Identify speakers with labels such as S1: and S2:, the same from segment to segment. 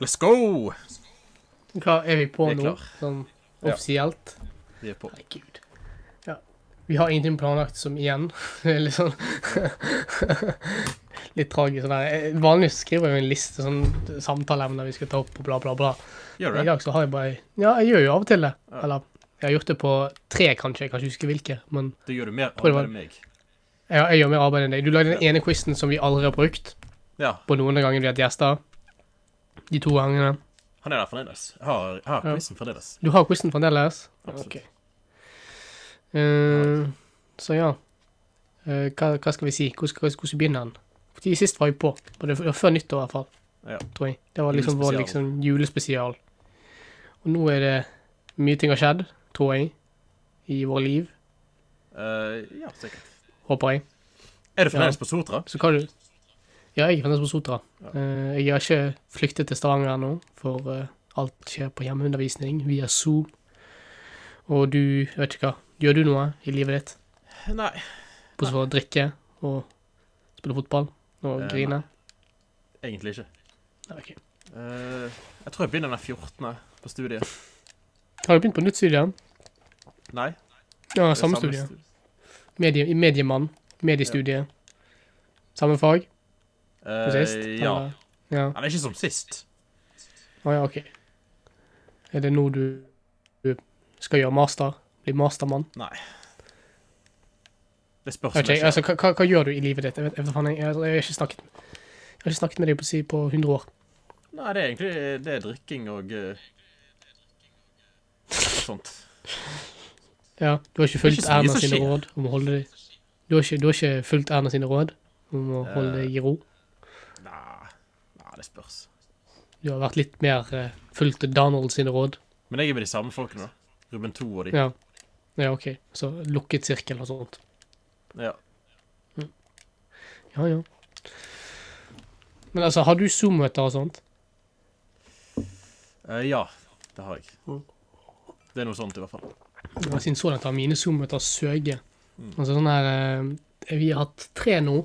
S1: Let's go!
S2: Hva er vi på
S1: Vi er
S2: nå?
S1: klar.
S2: Sånn
S1: Ja.
S2: offisielt?
S1: Vi er på.
S2: Nei, gud. Ja. Vi har ingenting planlagt som igjen. Det er Litt sånn Litt tragisk. Sånn der. Eh, Vanligvis skriver jeg jo en liste sånn samtaleemner vi skal ta opp og bla, bla, bla.
S1: Gjør
S2: I
S1: det.
S2: dag så har jeg bare Ja, jeg gjør jo av og til det.
S1: Ja.
S2: Eller jeg har gjort det på tre, kanskje. Jeg kan ikke huske hvilke. Men
S1: Det gjør du mer
S2: Tror det var-
S1: arbeid enn meg.
S2: jeg, jeg gjør mer arbeid enn deg. Du lagde den
S1: Ja.
S2: ene quizen som vi aldri har brukt
S1: Ja,
S2: på noen av gangene vi har hatt gjester. De to gangene.
S1: han er der fremdeles. Jeg Har, jeg har
S2: Ja.
S1: quizen fremdeles.
S2: Du har quizen fremdeles?
S1: Absolutt.
S2: Ok. Eh, så ja. Eh, hva, hva skal vi si? Hvordan hvordan- hvordan begynner den? Fordi sist var vi på. Og det var før nyttår, i hvert fall.
S1: Ja.
S2: Tror jeg. Det var liksom vår
S1: Julespesial.
S2: liksom, julespesial. Og nå er det mye ting har skjedd, tror jeg, i våre liv.
S1: Eh, ja, sikkert.
S2: Håper jeg.
S1: Er du fremdeles på Sotra?
S2: Så hva du Ja, jeg er fremdeles på Sotra. Eh, jeg har ikke flyktet til Stavanger ennå, for eh, alt skjer på hjemmeundervisning via Zoom. Og du, jeg vet ikke hva, gjør du noe i livet ditt?
S1: Nei.
S2: Bortsett fra å drikke og spille fotball og
S1: Eh,
S2: grine.
S1: Egentlig ikke.
S2: Nei, ok.
S1: Eh, jeg tror jeg begynner den 14. på studiet.
S2: Har du begynt på nytt studie?
S1: Nei.
S2: Ja,
S1: det er
S2: samme studie.
S1: studie.
S2: Medie, i mediemann. Mediestudie. Samme fag
S1: Eh,
S2: som sist?
S1: ja.
S2: eller? ja.
S1: Han er ikke som sist.
S2: Å ja, OK. Er det nå du, du skal gjøre master? Bli mastermann?
S1: Det spørs om det
S2: Ok,
S1: skjer.
S2: altså, hva, hva- hva gjør du i livet ditt? Jeg, vet, jeg, vet, faen, jeg, jeg, jeg, har ikke snakket, jeg har ikke snakket med deg på, si, på 100 år.
S1: Nei, det er egentlig det er drikking og eh, og sånt.
S2: Ja, Du har ikke
S1: Det er
S2: fulgt
S1: ikke så mye
S2: Erna
S1: som
S2: sine
S1: skjer.
S2: råd om å holde deg Du har ikke, du har ikke fulgt Erna sine råd om å holde
S1: Eh.
S2: deg i ro?
S1: Nei, nei, det spørs.
S2: Du har vært litt mer eh, fulgt Donald sine råd.
S1: Men jeg er med de samme folkene, da. Ruben 2 og de.
S2: Ja. ja, OK. Så lukket sirkel og sånt.
S1: Ja.
S2: Ja, ja. Men altså, har du Zoom-møter og sånt?
S1: Eh, ja, det har jeg. Det er noe sånt, i hvert fall.
S2: Ja, Siden så langt har sånn mine Zoom-møter søket.
S1: Mm.
S2: Altså sånn her eh, Vi har hatt tre nå.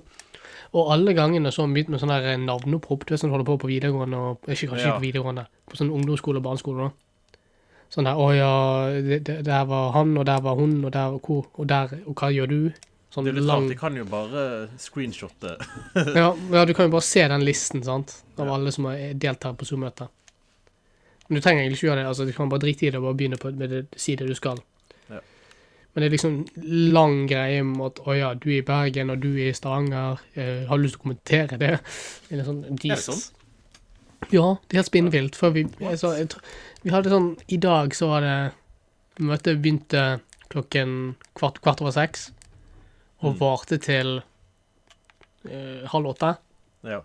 S2: Og alle gangene så har vi begynt med sånn her eh, navneopphopp. Du vet sånn du holder på på videregående og Ikke kanskje
S1: Ja.
S2: ikke på videregående, på sånn ungdomsskole og barneskole. da. Sånn her Å ja, det, det, der var han, og der var hun, og der var hvor, og der Og hva gjør du? Sånn
S1: Det er jo litt
S2: lang
S1: rart, de kan jo bare screenshotte.
S2: ja, ja, du kan jo bare se den listen sant? av
S1: Ja.
S2: alle som har deltatt på Zoom-møtet. Men du trenger egentlig ikke gjøre det. altså Du kan bare drite i det og bare begynne på med det, si det du skal.
S1: Ja.
S2: Men det er liksom lang greie med at å ja, du er i Bergen, og du er i Stavanger. Eh, har du lyst til å kommentere det? Eller sånn, Jesus.
S1: sånn?
S2: Ja, det er helt spinnvilt. Før vi, altså, jeg, tr- vi hadde sånn I dag så var det Møtet begynte klokken kvart, kvart over seks og
S1: Mm.
S2: varte til eh, halv åtte.
S1: Ja.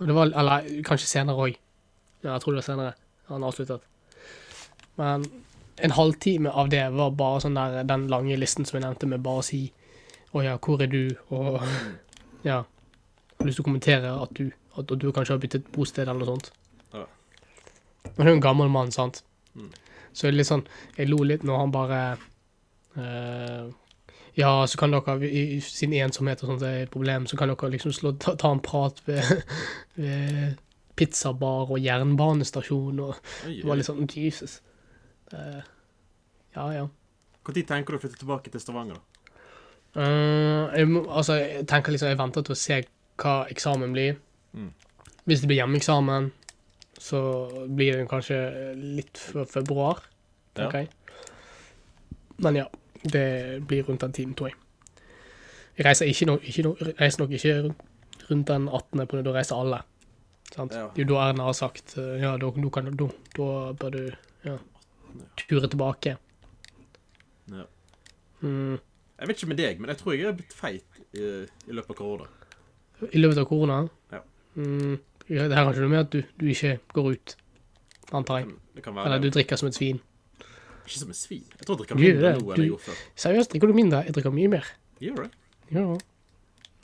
S2: Og det var, eller kanskje senere òg. Ja, jeg tror det var senere. Han avsluttet. Men en halvtime av det var bare sånn der, den lange listen som jeg nevnte, med bare å si Å ja, hvor er du? Og ja. Har lyst til å kommentere at du, at, at du kanskje har byttet bosted, eller noe sånt.
S1: Ja.
S2: Men hun er jo en gammel mann, sant.
S1: Mm.
S2: Så det er litt sånn Jeg lo litt når han bare eh, ja, så kan dere, i- i- siden ensomhet og sånt er et problem, så kan dere liksom slå, ta, ta en prat ved, ved pizzabar og jernbanestasjon. Og
S1: Oi,
S2: det var
S1: oi.
S2: litt sånn Jesus. Eh, ja, ja.
S1: Hvor tid tenker du å flytte tilbake til Stavanger, da?
S2: Eh, jeg, må- altså, jeg tenker liksom, jeg venter til å se hva eksamen blir.
S1: Mm.
S2: Hvis det blir hjemmeeksamen, så blir det kanskje litt før februar,
S1: Ja.
S2: tenker jeg. Men ja, det blir rundt den tiden, tror jeg. Jeg reiser, ikke nok, ikke nok, reiser nok ikke rundt- rundt den 18. på det, da reiser alle. Sant?
S1: Ja.
S2: Det er Jo, da Erna har sagt, eh, ja, da, da, kan, da, da bør du ja, ture tilbake.
S1: Ja.
S2: Mm.
S1: Jeg vet ikke med deg, men jeg tror jeg er blitt feit i, i løpet av korona.
S2: I løpet av korona?
S1: Ja.
S2: Mm, ja, det her har ikke noe med at du, du ikke går ut, antar jeg.
S1: Det kan være
S2: Eller du
S1: det.
S2: drikker som et svin.
S1: Ikke som en svin. Jeg tror jeg drikker
S2: Du gjør
S1: mindre
S2: det.
S1: nå
S2: Du-
S1: enn jeg gjorde før.
S2: Seriøst, drikker du mindre? Jeg drikker mye mer.
S1: Gjør det.
S2: Ja.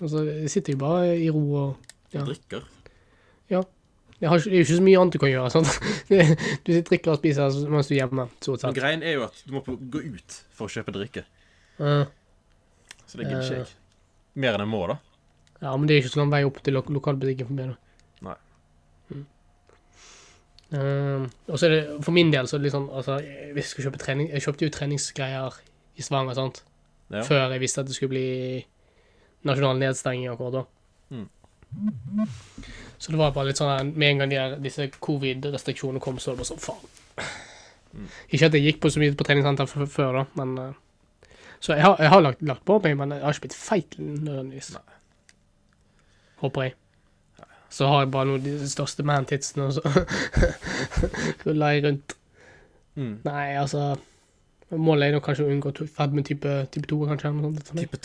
S2: Altså, jeg sitter jo bare i ro og Ja.
S1: Jeg drikker.
S2: jeg har ikke, Det er jo ikke så mye annet du kan gjøre. sant? Du sitter, drikker og spiser mens du er hjemme. så å
S1: Men
S2: si.
S1: greien er jo at du må på- gå ut for å kjøpe drikke.
S2: Eh,
S1: Så det gidder ikke jeg. Mer enn jeg må, da.
S2: Ja, men det er ikke så lang vei opp til lo lokalbutikken for meg. da.
S1: Nei.
S2: Mm. Ehm, og så er det, For min del så er det litt sånn altså, jeg- Hvis jeg skulle kjøpe trening Jeg kjøpte jo treningsgreier i Stavanger sant?
S1: Ja.
S2: før jeg visste at det skulle bli nasjonal nedstenging akkurat da.
S1: Mm.
S2: Så det var bare litt sånn her, Med en gang de her, disse covid-restriksjonene kom, så var det bare sånn faen.
S1: Mm.
S2: Ikke at jeg gikk på så mye på treningssenter f- f- før, da, men eh, Så jeg har, jeg har lagt, lagt på meg, men jeg har ikke blitt feit nødvendigvis.
S1: Nei.
S2: Håper jeg. Så har jeg bare noen av de største man-titsene, og så ruller jeg rundt.
S1: Mm.
S2: Nei, altså Målet er nok kanskje å unngå to- fedme type, type 2, kanskje. eller noe sånt. liksom.
S1: Type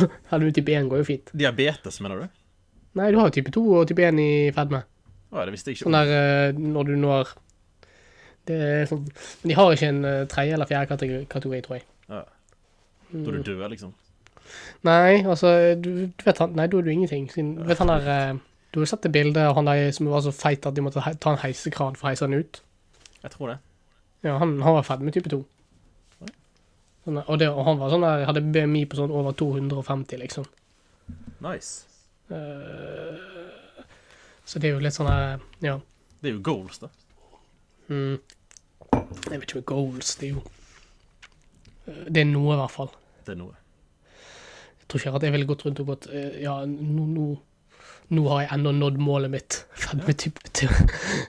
S1: 2?
S2: Hadde du type 1, går jo fint.
S1: Diabetes, mener du?
S2: Nei, du har jo type 2 og type 1 i fedme.
S1: Å, det visste jeg ikke.
S2: Sånn der eh, når du når Det er sånn Men de har ikke en eh, tredje eller fjerde kategori, kategori tror jeg. Mm.
S1: Ja. Da du dør, liksom.
S2: Nei, altså du, du vet han, Nei, da er du ingenting. Siden, du vet han der eh, Du har sett det bildet av han der som var så feit at de måtte hei- ta en heisekran for å heise han ut?
S1: Jeg tror det.
S2: Ja, han, han var ferdig med type 2. Sånn, og, det, og han var sånn der, hadde BMI på sånn over 250, liksom.
S1: Nice.
S2: Eh, så det er jo litt sånn her Ja.
S1: Det er jo goals, da.
S2: Mm. Jeg vet ikke hva goals det er jo. Eh, Det er noe, i hvert fall.
S1: Det er noe.
S2: Jeg tror ikke at jeg ville gått rundt og gått eh, Ja, nå, nå, nå har jeg ennå nådd målet mitt. Fedme type til.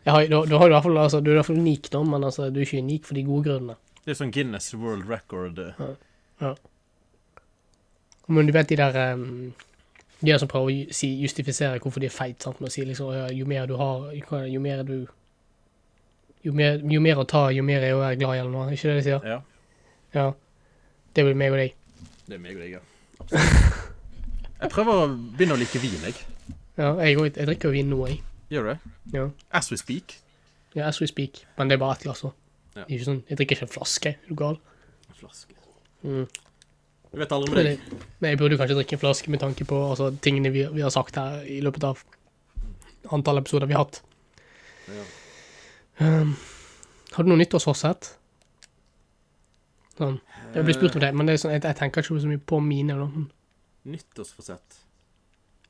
S2: Jeg har, da, da har du i hvert fall altså, Du er i hvert fall unik, da, men altså, du er ikke unik for de gode grunnene.
S1: Det er sånn Guinness World Record eh,
S2: Men du vet de der em, De der som prøver å ju- si, justifisere hvorfor de er feite, sant, med å si liksom «Å ja, Jo mer du har, jo hva- jo mer du jo mer, jo mer å ta, jo mer er å være glad i, eller noe. Er Ikke det de sier?
S1: Ja.
S2: Ja. Det blir meg og deg.
S1: Det er meg og deg, ja. Absolutt. Jeg prøver å begynne å like vin, jeg.
S2: Ja, jeg, går- jeg drikker jo vin nå, jeg.
S1: Gjør du det?
S2: Ja.
S1: As we speak.
S2: ja, as we speak. Men det er bare ett glass. også.
S1: Ja.
S2: Det er Ikke sånn, jeg drikker ikke en flaske. Er du gal?
S1: Flaske.
S2: Mm.
S1: Du vet aldri med
S2: Men jeg,
S1: deg.
S2: men jeg burde jo kanskje drikke en flaske med tanke på altså, tingene vi, vi har sagt her i løpet av antall episoder vi har hatt.
S1: Ja.
S2: Um, har du noe nyttårsforsett? Sånn. Jeg blir spurt om det, men det er sånn, jeg, jeg tenker ikke så mye på mine. Da. Sånn, Men
S1: Eh, Nyttårsforsett.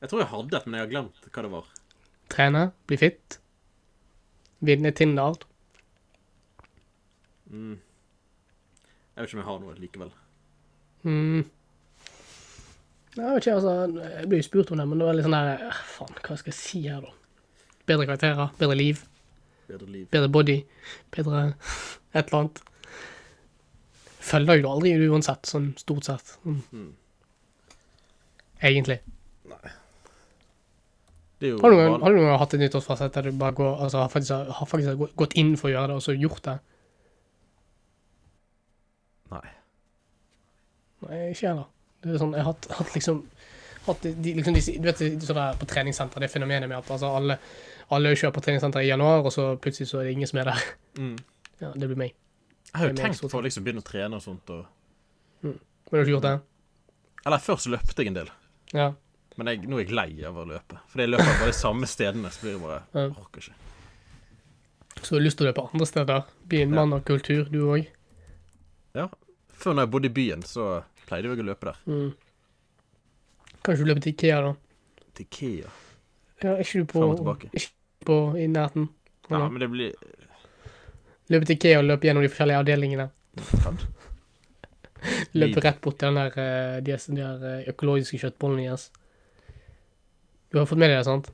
S1: Jeg tror jeg hadde et, men jeg har glemt hva det var.
S2: Trene, bli fit, vinne Tinder.
S1: Mm. Jeg vet ikke om jeg har noe likevel.
S2: Mm. Jeg vet ikke, altså, jeg ble jo spurt om det, men det var litt sånn der eh, Faen, hva skal jeg si her, da? Bedre karakterer, bedre liv,
S1: Bedre liv.
S2: bedre body, bedre et eller annet. Følger jo det aldri uansett, sånn stort sett. Mm.
S1: Mm.
S2: Egentlig.
S1: Det er jo
S2: Har du, noen,
S1: van-
S2: har du noen gang hatt et nyttårsfasett der du bare går, altså, har faktisk, har faktisk gå- gått inn for å gjøre det, og så gjort det?
S1: Nei.
S2: Nei, ikke heller. Det er sånn, jeg har hatt, hatt liksom hatt de, de, liksom disse- Du vet de- sånn der på treningssenter, det fenomenet med at altså, alle, alle kjører på treningssenter i januar, og så plutselig så er det ingen som er der.
S1: Mm.
S2: Ja, Det blir meg.
S1: Jeg har jo
S2: Det er sånn meg
S1: tenkt
S2: stort
S1: på å liksom begynne å trene og sånt. Og...
S2: Men du har ikke gjort det?
S1: Eller først løpte jeg en del,
S2: Ja.
S1: men jeg, nå er jeg lei av å løpe. Fordi jeg løper bare de samme stedene, så blir det bare
S2: Ja.
S1: jeg Orker ikke.
S2: Så du har lyst til å løpe andre steder? Bli en
S1: Ja.
S2: mann av kultur, du òg?
S1: Ja. Før når jeg bodde i byen, så pleide jeg å løpe der.
S2: Mm. Kanskje du løper til Ikea, da?
S1: Til Ikea.
S2: Ja, er ikke du
S1: Frem og
S2: på,
S1: tilbake.
S2: ikke du på i nærheten?
S1: Ja,
S2: Eller?
S1: men det blir eh,
S2: Løpe til Ikea og løpe gjennom de forskjellige avdelingene?
S1: Faen.
S2: Løpe rett bort til den der, eh, de, de der eh, økologiske kjøttbollene deres. Du har fått med deg det, sant?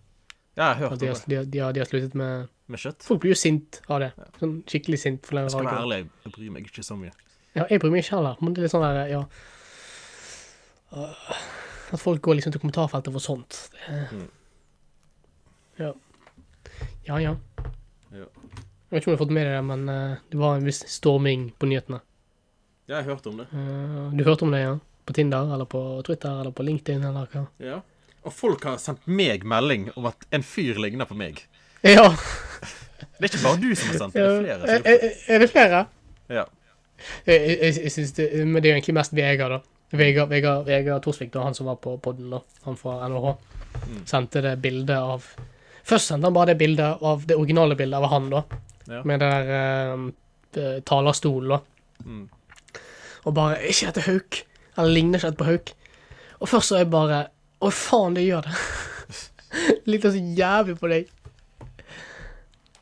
S1: Ja, jeg har hørt
S2: At
S1: om
S2: de,
S1: det.
S2: har, de, har, de, har, de har sluttet med
S1: Med kjøtt.
S2: Folk blir jo sint av det. Sånn skikkelig sint. For
S1: Jeg skal være
S2: jeg,
S1: ærlig, jeg bryr meg ikke så mye.
S2: ja, jeg bryr meg ikke heller, men det er litt sånn der ja. Øh, At folk går liksom til kommentarfeltet for sånt. Det-
S1: Mm.
S2: Ja. Ja, ja.
S1: Ja.
S2: Jeg vet ikke om du har fått med deg det, men eh, det var en viss storming på nyhetene.
S1: Ja, jeg har hørt om det.
S2: Eh, du hørte om det, ja? På Tinder, eller på Twitter, eller på LinkedIn, eller hva?
S1: Ja. Og folk har sendt meg melding om at en fyr ligner på meg.
S2: Ja.
S1: Det er ikke bare du som har sendt det, det er flere som har
S2: Er,
S1: gjort det.
S2: er, er det flere?
S1: Ja.
S2: Jeg, jeg, jeg- jeg synes det, men det er jo egentlig mest Vegard, da. Vegard, Vegard, Vegard Torsvik, da, han som var på podden, da. Han fra NHH.
S1: Mm.
S2: Sendte det bildet av Først sendte han bare det bildet av det originale bildet av han, da.
S1: Ja.
S2: Med det der eh, talerstolen, da.
S1: Mm.
S2: Og bare «Er Ikke dette Hauk? Han ligner ikke helt på Hauk. Og først så er jeg bare Å, sånn faen, det gjør det. Likte så jævlig på deg.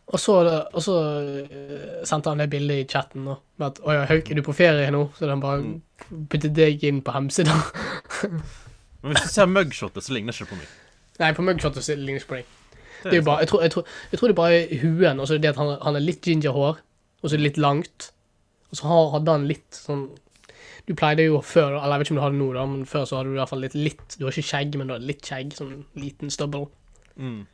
S2: Og så, og så eh, sendte han det bildet i chatten nå, med at 'Å ja, Hauk, er du på ferie nå?' Så den bare
S1: Mm.
S2: puttet deg inn på hemsida.
S1: Men hvis du ser mugshotet, så ligner det ikke på meg.
S2: Nei, på mugshotet så ligner det ikke på deg.
S1: Det
S2: Det er jo bare, jeg, tror, jeg, tror, jeg tror det er bare huen, og så er det det at han, han har litt gingerhår, og så er det litt langt. Og så har- hadde han litt sånn Du pleide jo før, eller jeg vet ikke om du har det nå, da, men før så hadde du i hvert fall litt litt Du har ikke skjegg, men du har litt skjegg, sånn liten stubble.
S1: mm.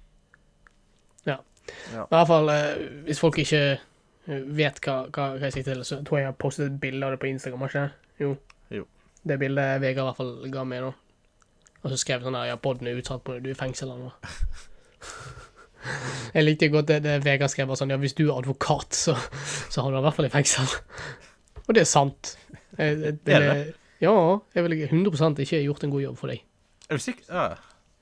S2: Men i hvert fall, eh, hvis folk ikke eh, vet hva, hva, hva jeg sikter til, så tror jeg jeg har postet et bilde av det på Instagram, har ikke det? Jo.
S1: Jo.
S2: Det bildet Vegard i hvert fall ga meg nå. Og så skrev sånn der, ja, podden er utsatt på det, du er i fengsel eller noe. Jeg likte godt det, det Vegard skrev, bare sånn, ja, hvis du er advokat, så, så havner du i hvert fall i fengsel. Og det er sant. Jeg, jeg,
S1: Det er
S2: Ja, jeg ville 100% ikke gjort en god jobb for deg.
S1: Er du sikker? Ja.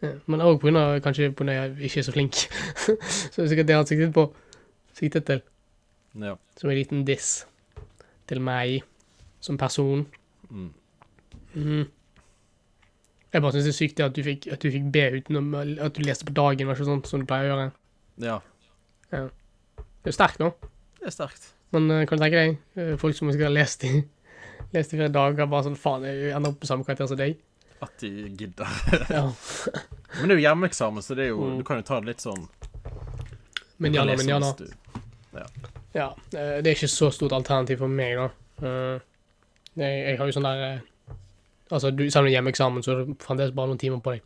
S2: Ja, Men òg pga. kanskje på grunn av jeg ikke er så flink. så det er sikkert det han siktet på. Siktet til.
S1: ja.
S2: Som en liten diss til meg som person.
S1: Mm.
S2: Mhm. Jeg bare syns det er sykt det at du fikk, at du fikk B utenom at du leste på dagen, var ikke sånn som du pleier å gjøre.
S1: ja.
S2: Det er jo sterkt nå,
S1: Det er sterkt.
S2: men eh, kan du tenke deg eh, folk som skal ha lest i Lest i flere dager, bare sånn faen, jeg ender opp på samme karakter som deg.
S1: At de gidder.
S2: Ja.
S1: Men det er jo hjemmeeksamen, så det er jo,
S2: Mm.
S1: du kan jo ta det litt sånn
S2: Men ja, da, men ja,
S1: Lese
S2: da.
S1: hvis du-
S2: Ja, eh, det er ikke så stort alternativ for meg, da. Eh, Jeg, jeg har jo sånn der eh, Altså, du, selv om det er hjemmeeksamen, så er det fremdeles bare noen timer på deg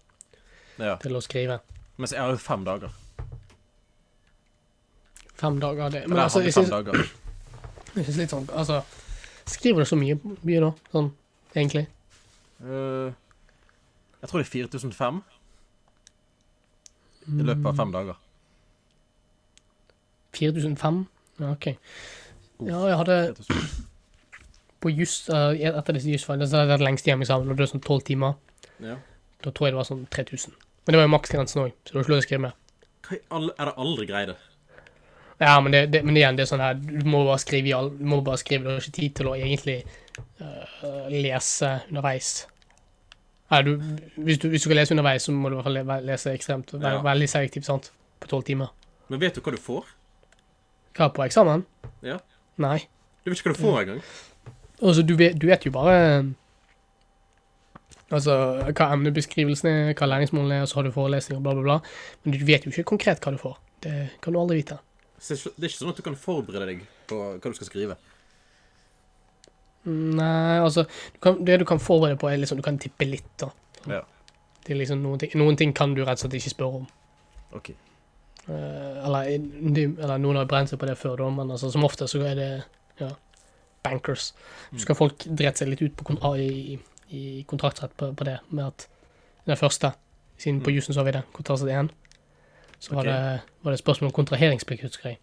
S1: Ja.
S2: til å skrive.
S1: Mens jeg har jo fem dager.
S2: Fem dager, det. Men
S1: Eller
S2: altså,
S1: jeg hadde fem
S2: jeg syns
S1: dager.
S2: jeg syns litt sånn Altså, skriver du så mye, mye da? Sånn, egentlig?
S1: Eh, jeg tror det er 4005 i løpet av fem
S2: Mm.
S1: dager.
S2: 4005? Ja, OK.
S1: Oh.
S2: Ja, jeg hadde
S1: 4000.
S2: på just, eh, Etter disse jusfagene så hadde jeg hatt lengste hjemmeeksamen, og det er sånn tolv timer.
S1: Ja.
S2: Da tror jeg det var sånn 3000. Men det var jo maksgrensen òg, så det var ikke lov til å skrive mer.
S1: Hva i all Er det aldri greie det?
S2: Ja, men, det, det, men igjen, det er sånn her Du må bare skrive, i all, du må bare skrive. Du har ikke tid til å egentlig øh, lese underveis. Nei, du, hvis, du, hvis du skal lese underveis, så må du i hvert fall le- lese ekstremt. Være,
S1: Ja.
S2: Veldig selektivt, sant? På tolv timer.
S1: Men vet du hva du får?
S2: Hva på eksamen?
S1: Ja.
S2: Nei.
S1: Du vet ikke hva du
S2: Mm.
S1: får engang.
S2: Altså, du vet, du vet jo bare Altså, hva emnebeskrivelsen er, hva læringsmålene er, og så har du forelesninger, bla, bla, bla. Men du vet jo ikke konkret hva du får. Det kan du aldri vite.
S1: Så Det er ikke- det er ikke sånn at du kan forberede deg på hva du skal skrive.
S2: Nei, altså du kan, Det du kan forberede på, er liksom Du kan tippe litt, da.
S1: Ja.
S2: Det er liksom noen ting Noen ting kan du rett og slett ikke spørre om.
S1: OK.
S2: Eh, eller, de, eller noen har brent seg på det før, da, men altså, som ofte så er det ja, bankers.
S1: Mm.
S2: Så skal folk drete seg litt ut på, kon- ah, i, i kontraktsrett på, på det, med at den første Siden på
S1: Mm.
S2: jussen så har vi det, kontraktsrett 1. Så var,
S1: Ok.
S2: det, var det spørsmål om kontraheringsplikt, husker jeg.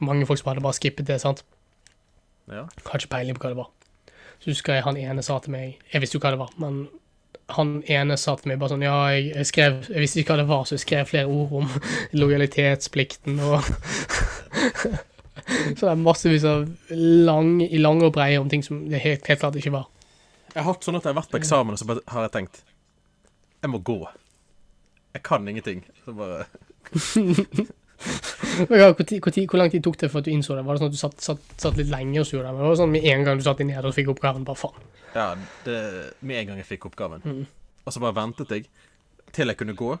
S2: Mange folk som hadde bare skippet det, sant.
S1: Ja.
S2: Har ikke peiling på hva det var. Så husker jeg han ene sa til meg Jeg visste jo hva det var, men han ene sa til meg bare sånn Ja, jeg, jeg skrev Jeg visste ikke hva det var, så jeg skrev flere ord om lojalitetsplikten og Så det er massevis av lang, i lange og breie om ting som det helt, helt klart ikke var.
S1: Jeg har hatt sånn at jeg har
S2: Mm.
S1: vært på eksamen, og så bare har jeg tenkt Jeg må gå. Jeg kan ingenting. Så bare
S2: Men ja, hvor, tid, hvor, tid, hvor lang tid tok det for at du innså det? Var det sånn at du satt, satt, satt litt lenge og så gjorde det? Men det var sånn med en gang du satt deg ned og fikk oppgaven, bare faen.
S1: Ja, det, med en gang jeg fikk oppgaven. Og så bare ventet jeg til jeg kunne gå.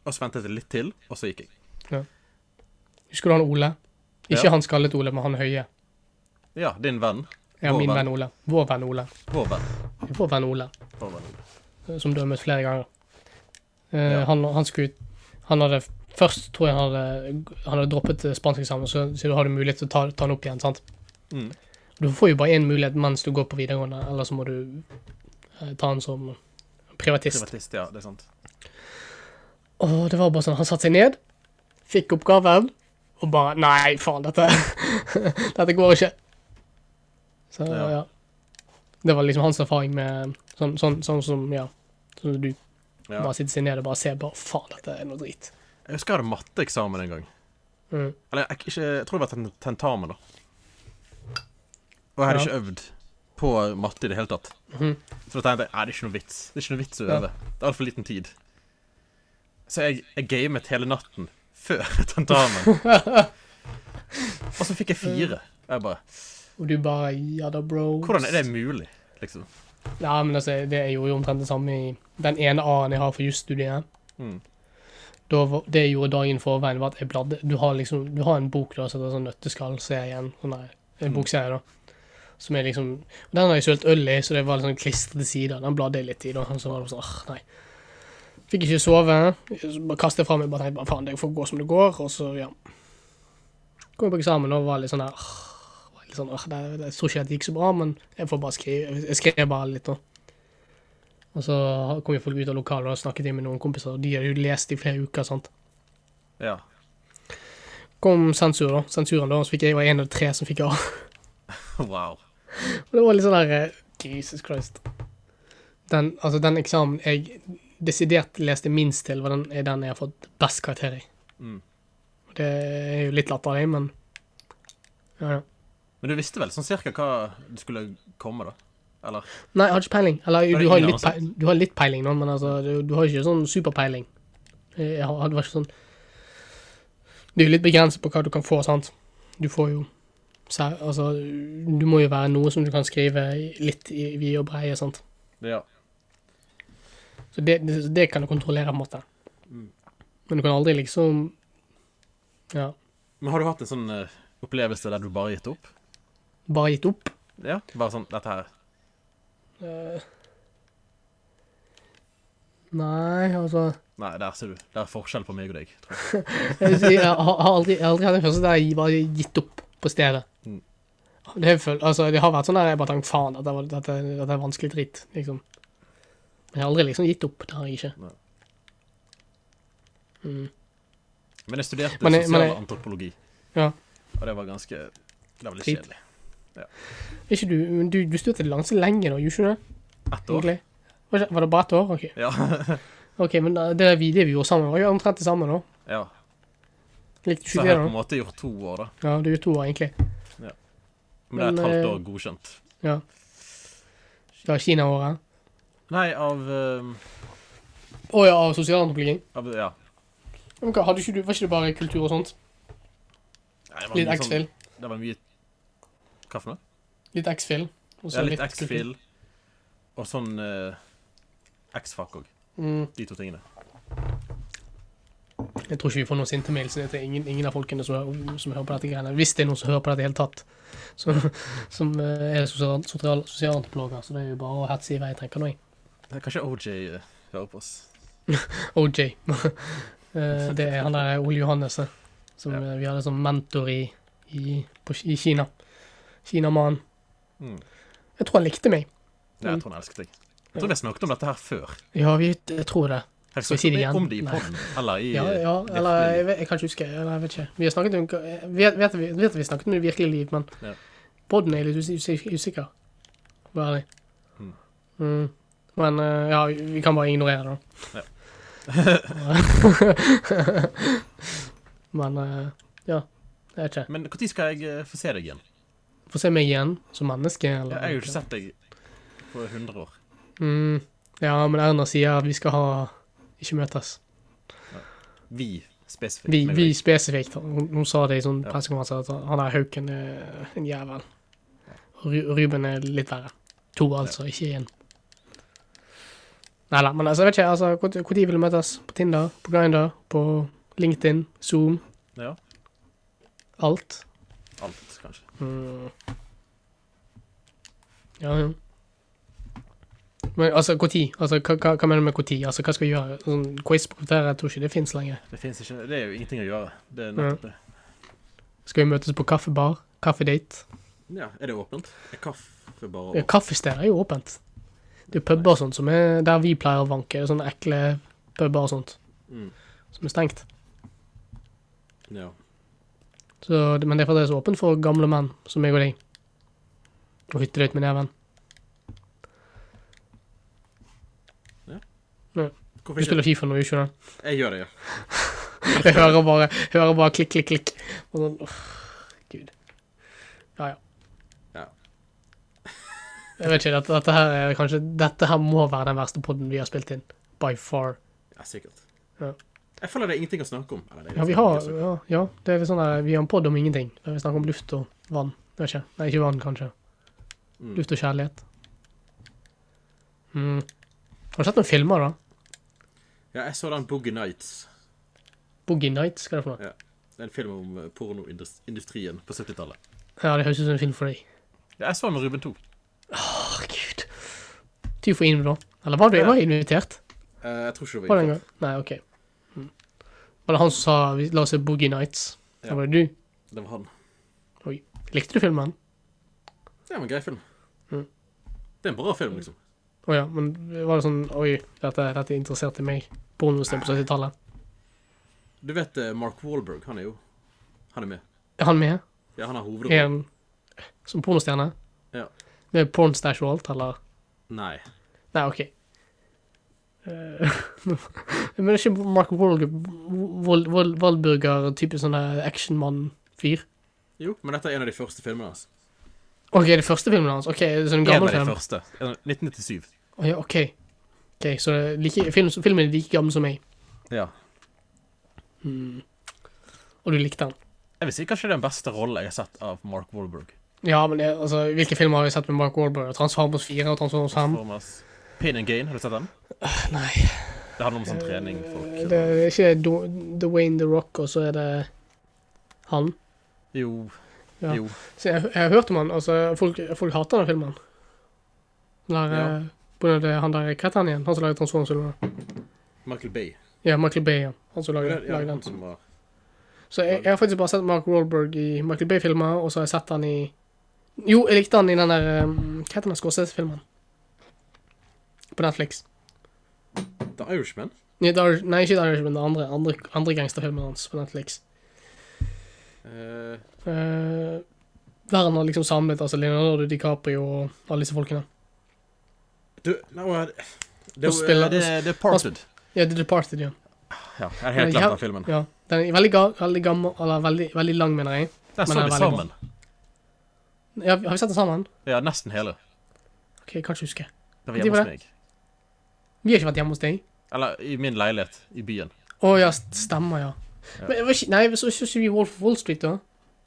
S1: Og så ventet jeg litt til, og så gikk jeg.
S2: Husker du han Ole? Ikke
S1: Ja.
S2: han skallet Ole, men han høye.
S1: Ja, din venn.
S2: Ja,
S1: Vår
S2: min
S1: venn.
S2: venn Ole. Vår venn Ole.
S1: Vår venn.
S2: Vår venn Ole.
S1: Vår venn.
S2: eh, som du har møtt flere ganger. Eh,
S1: Ja.
S2: han, han skulle ut Han hadde Først tror jeg han hadde, han hadde droppet eh, spanskeksamen, så, så du hadde mulighet til å ta, ta den opp igjen. sant?
S1: Mm.
S2: Du får jo bare én mulighet mens du går på videregående, eller så må du eh, ta den som privatist.
S1: Privatist, ja. Det er sant.
S2: Og det var bare sånn, han satte seg ned, fikk oppgaven, og bare Nei, faen, dette Dette går ikke. Så ja.
S1: Ja.
S2: Det var liksom hans erfaring med sånn, sånn, sånn som Ja. Sånn som du
S1: Ja.
S2: bare sitter seg ned og bare ser bare Faen, dette er noe drit.
S1: Jeg husker jeg hadde matteeksamen en gang.
S2: Mm.
S1: Eller jeg, ikke, jeg tror det var ten- tentamen, da. Og jeg hadde
S2: Ja.
S1: ikke øvd på matte i det hele tatt.
S2: Mhm.
S1: Så da tenkte jeg nei, det er ikke noe vits Det er ikke noe vits å
S2: Ja.
S1: øve. Det er altfor liten tid. Så jeg, jeg gamet hele natten før tentamen. Og så fikk jeg fire. Og jeg bare
S2: Og du bare Ja da, bro.
S1: Hvordan er det mulig, liksom?
S2: Ja, men altså, det jeg gjorde jo omtrent det samme i den ene A-en jeg har for jusstudiet.
S1: Mm.
S2: Da var- Det jeg gjorde dagen forveien, var at jeg bladde Du har liksom, du har en bok da, som heter sånn Nøtteskall-serien. Sånn der, en bokserie, da. Som er liksom og Den har jeg sølt øl i, så det var litt sånn klistrete sider. Den bladde jeg litt i, da. Og så var det sånn, ah, nei. Fikk ikke sove. så Bare kastet fra meg bare tenkte bare, faen, det får gå som det går. Og så, ja. Kom jeg på eksamen og var litt sånn der ah, var litt sånn, ah, det, det, Jeg tror ikke det gikk så bra, men jeg får bare skrive. Jeg skrev bare litt, da. Og så kom jo folk ut av lokalet og snakket inn med noen kompiser, og de hadde jo lest i flere uker. sant?
S1: Ja.
S2: Kom sensur, da. Sensuren, da, og så fikk jeg, jeg var en av tre som fikk A.
S1: Wow.
S2: Og det var litt sånn der eh, Jesus Christ. Den, altså, den eksamen jeg desidert leste minst til, var den, er den jeg har fått best karakter i.
S1: Mm.
S2: Og Det er jo litt latterlig, men ja, ja.
S1: Men du visste vel sånn cirka hva det skulle komme, da? Eller?
S2: Nei, jeg har ikke peiling. Eller
S1: er
S2: du har, jo
S1: ingen
S2: litt, pei- du har litt peiling nå, men altså, du, du har ikke sånn superpeiling. Eh, Jeg har- det var ikke sånn Det er jo litt begrenset på hva du kan få, sant. Du får jo sær- Altså, du må jo være noe som du kan skrive i- litt i vide og breie, sant.
S1: Ja.
S2: Så det, det, det kan du kontrollere, på en måte.
S1: Mm.
S2: Men du kan aldri liksom Ja.
S1: Men har du hatt en sånn eh, opplevelse der du bare gitt opp?
S2: Bare gitt opp.
S1: Ja, bare sånn dette her.
S2: Eh, Nei, altså
S1: Nei, der ser du. Det er forskjell på meg og deg. Tror jeg.
S2: Jeg, vil si, jeg, har, har aldri, jeg har aldri hatt en følelse der jeg bare gitt opp på stedet.
S1: Mm.
S2: Det, er føl- altså, det har vært sånn der jeg bare tenkte faen, dette, var- dette, dette er vanskelig dritt, liksom. Men jeg har aldri liksom gitt opp. Det har jeg ikke.
S1: Nei.
S2: Mm.
S1: Men jeg studerte
S2: Men jeg-
S1: sosial
S2: men jeg-
S1: antropologi,
S2: Ja.
S1: og det var ganske Det var litt
S2: Drit.
S1: kjedelig.
S2: Er Ikke du, men du, du studerte ganske lenge da, gjorde du ikke det?
S1: Ett år.
S2: egentlig? Var, ikke- var det bare et år? Ok,
S1: Ja.
S2: Ok, men da- det der videoet vi gjorde sammen, var jo omtrent det samme nå.
S1: ja.
S2: Likte du
S1: Så
S2: ikke
S1: jeg
S2: det
S1: har på
S2: da?
S1: en måte gjort to år, da.
S2: Ja, du er to år egentlig.
S1: Men det er
S2: Men,
S1: et halvt
S2: eh,
S1: år godkjent.
S2: Ja. Det var Kina-året.
S1: Nei, av, eh,
S2: Å ja, av sosialantropologi.
S1: av Ja.
S2: Men hva, hadde ikke du, var ikke det bare kultur og sånt?
S1: Nei, det var
S2: Litt
S1: mye
S2: X-Fill?
S1: Sånn, det var mye Hva for noe?
S2: Litt X-Fill. og så
S1: Ja, litt
S2: kultur.
S1: X-Fill og sånn eh, X-Fac òg.
S2: Mm.
S1: De to tingene.
S2: Jeg tror ikke vi får noen sinte mails ned til ingen, ingen av folkene som, hører- som hører på dette greiene. Hvis det er noen som hører på dette i det hele tatt, som, som eh, er sosial, sosial, sosialantropologer. Så det er jo bare å hetse i vei, tenker nå jeg.
S1: Det er Kanskje OJ eh, hører på oss.
S2: OJ. Eh, det er han der Ole Johannes, eh, som
S1: Ja.
S2: eh, vi hadde som mentor i, i, på, Ki- i Kina. Kinamannen.
S1: Mm.
S2: Jeg tror han likte meg.
S1: Nei,
S2: Mm.
S1: jeg tror han elsket deg. Jeg tror vi har snakket om dette her før.
S2: Ja, vi, jeg tror det.
S1: Har vi
S2: Skal vi si
S1: snakket
S2: det igjen?
S1: om det i
S2: Nei.
S1: podden? Eller i
S2: Ja, ja
S1: virkelig
S2: eller jeg, vet, jeg kan ikke huske. Eller jeg vet ikke. Vi har snakket om jeg Vet, vet, vi- vet vi snakket om det virkelige liv, men
S1: Ja.
S2: podden er litt usi- usi- usikker. Vær ærlig.
S1: Mm.
S2: Mm. Men eh, ja, vi- vi kan bare ignorere det, da. men eh, ja. Jeg vet ikke.
S1: Men når skal jeg eh, få se deg igjen?
S2: Få se meg igjen som menneske, eller
S1: Ja, Jeg har jo ikke sett deg på 100 år.
S2: Mm. Ja, men Erna sier at vi skal ha Ikke møtes.
S1: Vi spesifikt.
S2: Vi,
S1: meg og
S2: vi
S1: deg.
S2: spesifikt. Hun, hun sa det i sånn
S1: Ja.
S2: pressekonferanse at han der Hauken er en jævel. Ru, Ruben er litt verre. To, altså, ikke én. Nei da, men altså, jeg vet ikke. altså, hvor- Hvor tid vil du møtes? På Tinder? På Grindr? På LinkedIn? Zoom?
S1: Ja,
S2: Alt?
S1: alt, kanskje.
S2: Mm. Ja, ja. Men altså, når? Altså, hva, hva, hva mener du med når? Altså, hva skal vi gjøre? Sånn quiz på kvarteret? Jeg tror ikke det fins lenger.
S1: Det finnes ikke Det er jo ingenting å gjøre. Det er nettopp det.
S2: Skal vi møtes på kaffebar? Kaffedate?
S1: Ja, Er det åpent? Er kaffe bare
S2: Ja,
S1: åpent?
S2: Kaffesteder er jo åpent. Det er puber og sånt som er der vi pleier å vanke. Sånne ekle puber og sånt
S1: Mm.
S2: som er stengt.
S1: Ja.
S2: Så, det- men det er fremdeles åpent for gamle menn som meg og deg. Og hyttedate med neven.
S1: Hvorfor
S2: Du spiller
S1: ikke?
S2: Fifa nå, gjør ikke du
S1: Jeg gjør det, ja.
S2: det? Jeg hører bare, hører bare klikk, klikk, klikk. Og sånn, uff, Gud. Ja, ja.
S1: Ja.
S2: Jeg vet ikke, dette, dette her er kanskje Dette her må være den verste podden vi har spilt inn. By far.
S1: ja sikkert. Jeg føler det er ingenting å snakke om. Eller, det er
S2: Ja, vi
S1: liksom
S2: har,
S1: ikke så-
S2: ja, ja, det er vel sånn der, vi har en podd om ingenting. Der vi snakker om luft og vann. Jeg vet ikke. Nei, ikke vann, kanskje.
S1: Mm.
S2: Luft og kjærlighet. Mm. Har du sett noen filmer, da?
S1: Ja, jeg så den Boogie Nights.
S2: Boogie Nights, hva er det for noe?
S1: Det er en film om eh, pornoindustrien på 70-tallet.
S2: Ja, det høres ut som en film for deg.
S1: Ja, jeg så den med Ruben 2.
S2: Åh, gud. Du får inn, da. Eller var du
S1: Ja.
S2: var jeg invitert?
S1: Eh, jeg tror ikke det
S2: Var
S1: var
S2: det en gang? Nei, OK. Mm. Var det han som sa vi- la oss se Boogie Nights?
S1: Ja.
S2: Ja. Var det du?
S1: Det var han.
S2: Oi. Likte du filmen?
S1: Det var en grei film.
S2: Mm.
S1: Det er en bra film, liksom.
S2: Å ja, men var det sånn Oi, dette, dette interesserte meg. Pornostem på 70-tallet.
S1: Du vet eh, Mark Wahlberg, han er jo Han er med.
S2: Er han med?
S1: Ja, han har
S2: Er
S1: hovedrollen.
S2: han som pornostjerne?
S1: Ja.
S2: Med pornstash og alt, eller?
S1: Nei.
S2: Nei, OK. Eh, men det er ikke Mark Waldburger, type sånn der actionmann-fyr?
S1: Jo, men dette er en av de første filmene hans.
S2: OK, det første filmen hans. OK, så en
S1: En
S2: gammel
S1: av de
S2: film.
S1: første. En- 1997.
S2: Å ja, OK. Ok, Så det er like, film, filmen er like gammel som meg,
S1: Ja.
S2: og du likte den?
S1: Jeg vil si kanskje det er den beste rollen jeg har sett av Mark Wahlberg.
S2: Ja, men jeg, altså, hvilke filmer har vi sett med Mark Wahlberg? Transformers 4 og Transformers 5?
S1: Transformers. Pain and Gain, har du sett den?
S2: Ah, Nei.
S1: Det handler om sånn trening, folk.
S2: Eh, Det er ikke Do- Dwayne The Rock, og så er det han.
S1: Jo.
S2: Ja.
S1: Jo.
S2: Så jeg, jeg har hørt om han, altså folk, folk hater den filmen. Der,
S1: Ja.
S2: eh, på grunn av det, han der, hva heter han igjen? Han som lager Transformers-filmene.
S1: Michael Bay.
S2: Ja, Michael Bay, ja. Han som
S1: Ja,
S2: lager,
S1: ja,
S2: lager
S1: han
S2: den.
S1: som var
S2: Så jeg, jeg har faktisk bare sett Mark Wahlberg i Michael Bay-filmer, og så har jeg sett han i Jo, jeg likte han i den der eh, Hva heter den Scorsese-filmen? På Netflix.
S1: The Irishman.
S2: Nei, det er- nei, ikke The Irishman, den andre, andre, andre gangsterfilmen hans på Netflix.
S1: Eh,
S2: Eh, der han har liksom samlet altså Leonardo DiCaprio og alle disse folkene.
S1: du, nå er det
S2: Og spiller-
S1: det, det er Parted.
S2: Ja, The Departed, ja.
S1: Ja, jeg har helt
S2: Ja,
S1: glemt den filmen.
S2: ja. Den er veldig, ga, veldig gammel, eller veldig, veldig lang, mener jeg.
S1: Der
S2: Men
S1: så
S2: den
S1: de
S2: er veldig
S1: sammen.
S2: Ja, har vi sett den sammen?
S1: Ja, nesten hele.
S2: Ok, jeg kan ikke
S1: Det
S2: huske.
S1: var
S2: De
S1: hjemme
S2: var
S1: hos meg.
S2: Vi har ikke vært hjemme hos deg.
S1: Eller i min leilighet i byen.
S2: Å ja, st- stemmer, ja. Men jeg var ikke, nei, så så ikke vi Wolf of Wall Street, da?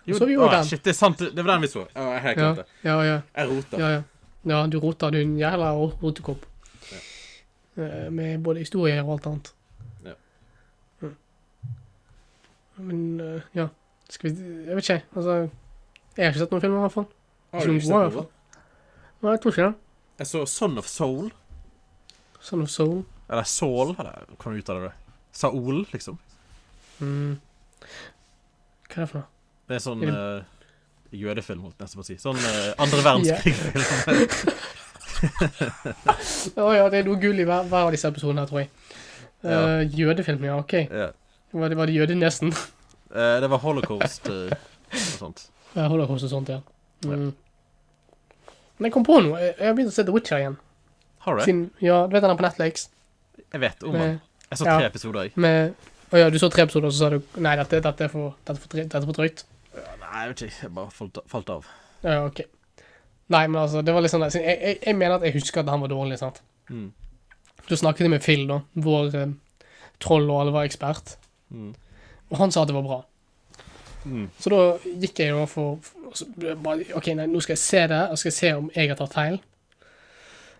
S1: Jo,
S2: Så vi gjorde
S1: ah,
S2: den.
S1: Shit, det er sant. Det var den vi så. Ja, jeg har helt
S2: Ja,
S1: glemt det.
S2: ja, ja,
S1: Jeg roter.
S2: ja, ja. ja du roter, du er en jævla ro- rotekopp. Eh, Med både historier og alt annet.
S1: Ja.
S2: Mm. Men eh, ja Skal vi Jeg vet ikke, altså Jeg har ikke sett noen filmer, i hvert fall.
S1: Har du ikke
S2: Wow.
S1: sett noe?
S2: Nei, jeg tror ikke det.
S1: Jeg så Son of Soul.
S2: Son of Soul.
S1: Eller Saul, eller kan du uttale det? Saul, liksom.
S2: Mm. Hva er det for noe?
S1: Det er sånn
S2: Er
S1: eh, jødefilm, holdt jeg nesten på å si. Sånn eh, andre verdenskrig-film.
S2: Å ja, det er noe gull i hver, hver av disse episodene, her, tror jeg.
S1: Ja.
S2: Eh, jødefilm, ja. OK.
S1: ja.
S2: Var det, var det jødenesen?
S1: Eh, det var holocaust eh, og sånt.
S2: Ja, Holocaust og sånt, ja. Mm. Men jeg kom på noe. Jeg jeg har begynt å se The Witcher igjen.
S1: Har du det? Oh,
S2: Siden, ja, Du vet den er på Netflix?
S1: Jeg vet om den.
S2: Med,
S1: Jeg så
S2: ja.
S1: tre episoder, jeg.
S2: med Å ja, du så tre episoder, og så sa du Nei, dette, dette, er, for, dette, er, for, dre- dette er for drøyt.
S1: Nei, jeg vet ikke. Jeg bare falt, falt av.
S2: Ja, ja, OK. Nei, men altså, det var litt sånn der- siden jeg, jeg, jeg mener at jeg husker at han var dårlig, sant.
S1: Mm.
S2: Så snakket jeg med Phil, da. Vår eh, troll og alle var ekspert.
S1: Mm.
S2: Og han sa at det var bra.
S1: Mm.
S2: Så da gikk jeg da for og så ble jeg bare, OK, nei, nå skal jeg se det, og skal jeg se om jeg har tatt feil.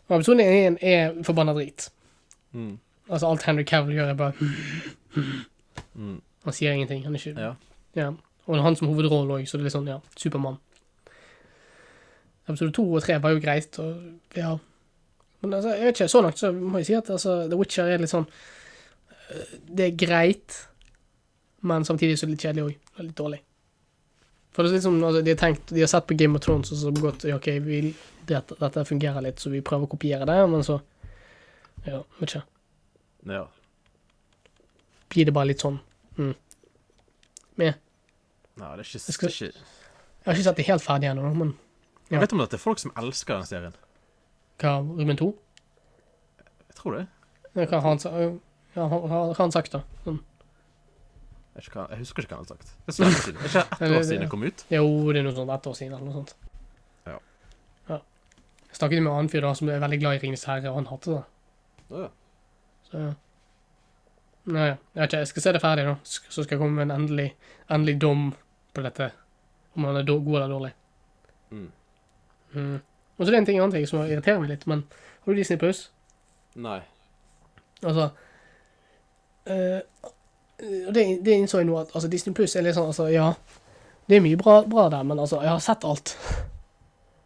S2: Og episoden er, er forbanna drit.
S1: Mm.
S2: Altså, alt Henry Cavill gjør, er bare hm,
S1: Mm.
S2: Han sier ingenting. Han er ikke
S1: Ja.
S2: Ja. Og det er han som hovedrolle òg, så det er litt sånn, ja, Supermann. Episode to og tre var jo greit, og ja Men altså, jeg vet ikke, så langt så må jeg si at altså, The Witcher er litt sånn øh, Det er greit, men samtidig så er det litt kjedelig òg. Og litt dårlig. For det er litt som altså, de har tenkt De har sett på Game of Thrones og så gått Ja, OK, vi, dette, dette fungerer litt, så vi prøver å kopiere det, men så Ja, vet ikke.
S1: ja.
S2: Blir det bare litt sånn.
S1: Nei, det er ikke,
S2: skal-
S1: det er ikke
S2: Jeg har ikke sett det helt ferdig ennå, men Ja.
S1: Jeg vet om at det er folk som elsker den serien.
S2: hva Ruben 2?
S1: Jeg tror det.
S2: Ja, Hva har han, sa- ja, hva har han sagt, da? Sånn.
S1: Jeg, vet ikke hva, jeg husker ikke hva han har sagt. Det er så lenge siden. Det er ikke ett
S2: Eller-
S1: år siden det kom ut.
S2: Jo, det er noe sånt ett år siden, eller noe sånt.
S1: Ja.
S2: Ja. Jeg snakket med en annen fyr da som er veldig glad i Ringenes herre, og han hater det.
S1: Å, ja.
S2: Så, ja. Nei, jeg vet ikke, jeg skal se det ferdig nå, sk- så skal jeg komme med en endelig, endelig dom på dette. Om han er då- god eller dårlig.
S1: Mm.
S2: Mm. Og så er det en ting, en annen ting som irriterer meg litt, men har du Disney Plus?
S1: Nei.
S2: Altså eh, og det, det innså jeg nå at altså, Disney Plus er litt sånn altså, Ja, det er mye bra, bra der, men altså, jeg har sett alt.